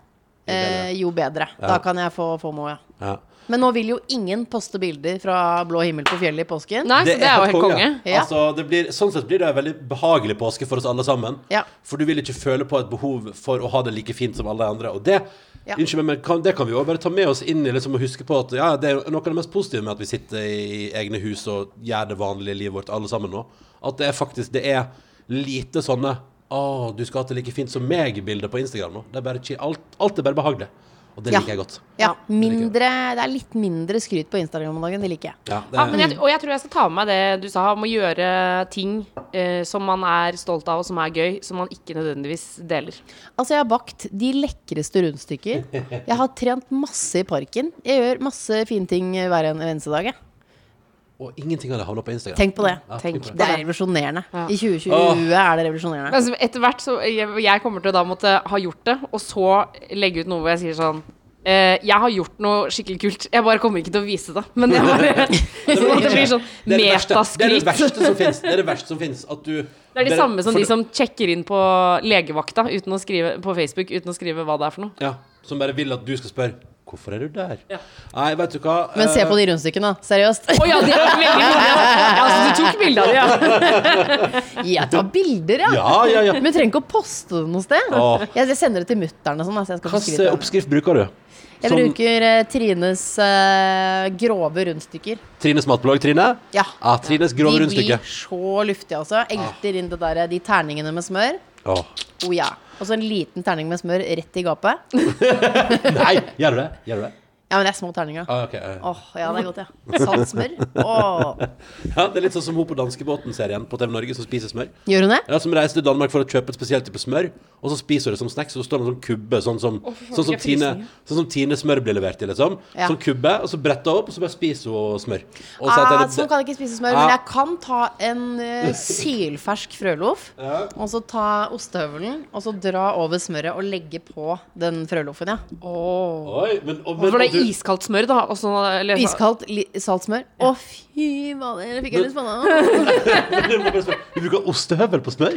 eh, jo bedre. Da kan jeg få FOMO, ja. Ja. Men nå vil jo ingen poste bilder fra blå himmel på fjellet i påsken. Nei, så det er jo helt konge. Ja. Altså, det blir, sånn sett blir det en veldig behagelig påske for oss alle sammen. Ja. For du vil ikke føle på et behov for å ha det like fint som alle de andre. Og det, Ja. unnskyld meg, men kan, det kan vi jo bare ta med oss inn i liksom, å huske på at ja, det er noe av det mest positive med at vi sitter i egne hus og gjør det vanlige livet vårt alle sammen nå. At det er faktisk det er lite sånne Å, du skal ha det like fint som meg-bilder på Instagram nå. Det er bare, chill. alt, alt er bare behagelig. Og det Ja. liker jeg godt. Ja, mindre, det er litt mindre skryt på Instagram om dagen, det liker jeg. Ja, det, Ja, men jeg, og jeg tror jeg skal ta med meg det du sa om å gjøre ting eh, som man er stolt av, og som er gøy, som man ikke nødvendigvis deler. Altså, jeg har bakt de lekreste rundstykker. Jeg har trent masse i parken. Jeg gjør masse fine ting hver en- hver eneste dag. jeg. og ingenting av det havner på Instagram. Tenk på det. Ja, Tenk på det. Det er revolusjonerende. Ja. I 2020 er det revolusjonerende. Altså, etter hvert så jeg, jeg kommer til å da måtte ha gjort det, og så legge ut noe hvor jeg sier sånn eh, Jeg har gjort noe skikkelig kult, jeg bare kommer ikke til å vise det. Men jeg bare sånn at det blir sånn Det er det verste- Det er det metaskryt. verste som finnes Det er det verste som finnes At du Det er de samme som for- de som sjekker inn på legevakta uten å skrive, på Facebook uten å skrive hva det er for noe. Ja, som bare vil at du skal spørre Hvor Hvorfor er du der? Ja. Nei, vet du hva Men se eh, på de rundstykkene, da. Seriøst. Å ja, de er veldig gode. Ja, altså, du tok bilde av dem, ja. Jeg tar bilder, ja. eh, Ja, ja, ja. Men du trenger ikke å poste det noe sted. Åh. Jeg, jeg sender det til mutter'n og sånn. da, Så jeg, skal få skryt Hvilken av det. oppskrift bruker du? jeg Sånn- bruker eh, Trines eh, grove rundstykker. Trines matblogg, Trine? Ja. Ah, Trines grove de rundstykke. blir så luftige, altså. Elter inn det der, de terningene med smør. Åh. Oh, ja. Og så en liten terning med smør rett i gapet. Nei, gjør du det? Gjør du det? Ja, men det er små terninger. da. Ah, ok, eh. Åh, ja, det er godt, ja. Salt smør. Åh. Ja, det er litt sånn som hun på danskebåten-serien på TV Norge som spiser smør. Gjør hun det? Ja, Som reiser til Danmark for å kjøpe et spesielt type smør, og så spiser hun det som snacks. Og så står det en sånn kubbe, sånn som, faen, sånn som, jeg fryser Tine, nå. sånn som Tine smør blir levert til, liksom. Ja. Sånn kubbe, og så bretter hun opp, og så bare spiser hun smør. Og så Ah, heter det- sånn kan jeg ikke spise smør, Ah. men jeg kan ta en eh, sylfersk frøloff. Og så ta ostehøvelen, og så dra over smøret og legge på den frøloffen, ja. Oh. Oi, men, og, men, For det og er du- iskaldt smør, da. Og sånn, eller, Iskaldt li salt smør. Å, fy fader, jeg fikk jeg lyst på det. Du må bare spørre, du bruker ostehøvel på smør?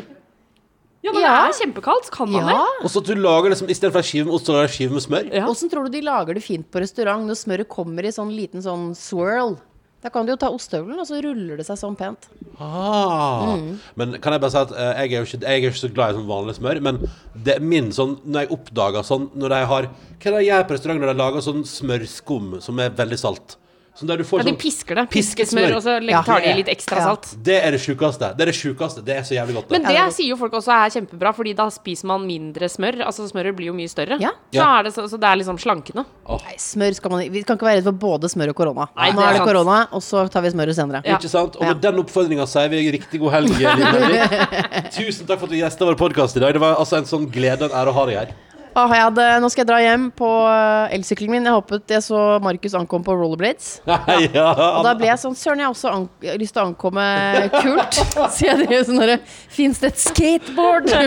Ja, når det Ja. er kjempekaldt, kan man Ja. det? Og så at du lager liksom, Istedenfor ei skive med ost, så lager du ei skive med smør? Ja. Åssen tror du de lager det fint på restaurant når smøret kommer i sånn liten sånn swirl? Da kan du jo ta ostehøvelen, og så ruller det seg sånn pent. Ah. Men kan jeg bare si at eh, jeg, er jo ikke, jeg er ikke så glad i sånn vanlig smør, men det er min sånn Når jeg oppdager sånn Når de har Hva er det de gjør på restaurant når de lager sånn smørskum som er veldig salt? Sånn der du får Ja, de sånn pisker det. Pisker smør. Piskesmør, og så legger, Ja. tar de litt ekstra Ja. salt. Det er det sjukeste. Det er det sjukeste. Det er så jævlig godt. Men Det. det det er godt. sier jo folk også er kjempebra, Fordi da spiser man mindre smør. Altså smøret blir jo mye større. Ja. Så, Ja. er det, så, så det er liksom slankende. Nei, smør skal man Vi kan ikke være redd for både smør og korona. Nei, det Nå er er det sant. korona, og så tar vi smøret senere. Ja. Ikke sant? Og med Ja. den oppfordringa sier vi riktig god helg. Liv Nelvik. Tusen takk for at du gjesta vår podkast i dag. Det var altså en sånn glede og en ære å ha deg her. Åh, jeg hadde, nå skal jeg dra hjem på eh, elsykkelen min. Jeg håpet jeg så Markus ankom på rollerblades. Ja, Og da ble jeg sånn Søren, jeg har også an- jeg har lyst til å ankomme kult. Så jeg drev sånn derre Fins det et skateboard som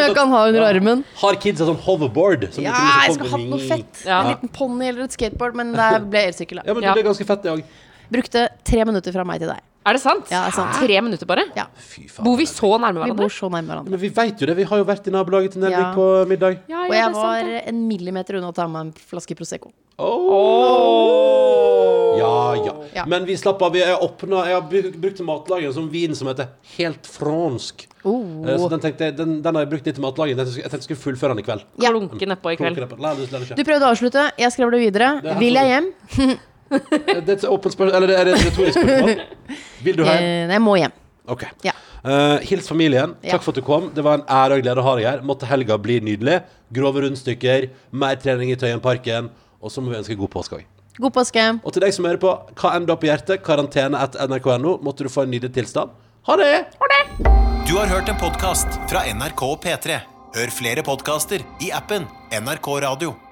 jeg kan ha under armen? Har kidsa sånn hoverboard? som du Ja, kunne liksom jeg skal ha komme noe i? fett. Ja. En liten ponni eller et skateboard, men det ble elsykkel. Ja, da. men det Ja. ble ganske fett, det òg. Brukte tre minutter fra meg til deg. Er det sant? Ja, det er sant. Hæ? Tre minutter bare? Ja. Fy faen. Bor vi så nærme Vi hverandre? bor så nærme hverandre. Men vi vet jo det, vi har jo vært i nabolaget til Nelvik Ja. på middag. Ja, ja, Og det er jeg sant, var ja. en millimeter unna å ta meg en flaske Prosecco. Oh! Ja, ja. Ja. Men vi slapp av. vi- Jeg, åpna, jeg har bru- brukt til matlaging som vin som heter Helt fransk. Oh. Eh, Så den, tenkte, jeg- den, den har jeg brukt litt til matlaging. Den- Jeg tenkte jeg skulle fullføre den i kveld. Ja. Klunke nedpå i kveld. Klunker det på- Nei, det skal jeg Du ikke. prøvde å avslutte, jeg skravler videre. Det er Vil jeg hjem? Det er et åpent spørsmål. Eller det er et retorisk spørsmål. Vil du hjem? Eh, Nei, jeg må hjem. OK. Ja. Eh, hils familien. Ja. Takk for at du kom. Det var en ære og glede å ha deg her. Måtte helga bli nydelig. Grove rundstykker, mer trening i Tøyenparken. Og så må vi ønske god påske òg. God påske. Og til deg som hører på, hva enn du har på hjertet, karantene etter nrk.no, måtte du få en nydelig tilstand. Ha det! Du har hørt en podkast fra NRK og P3. Hør flere podkaster i appen NRK Radio.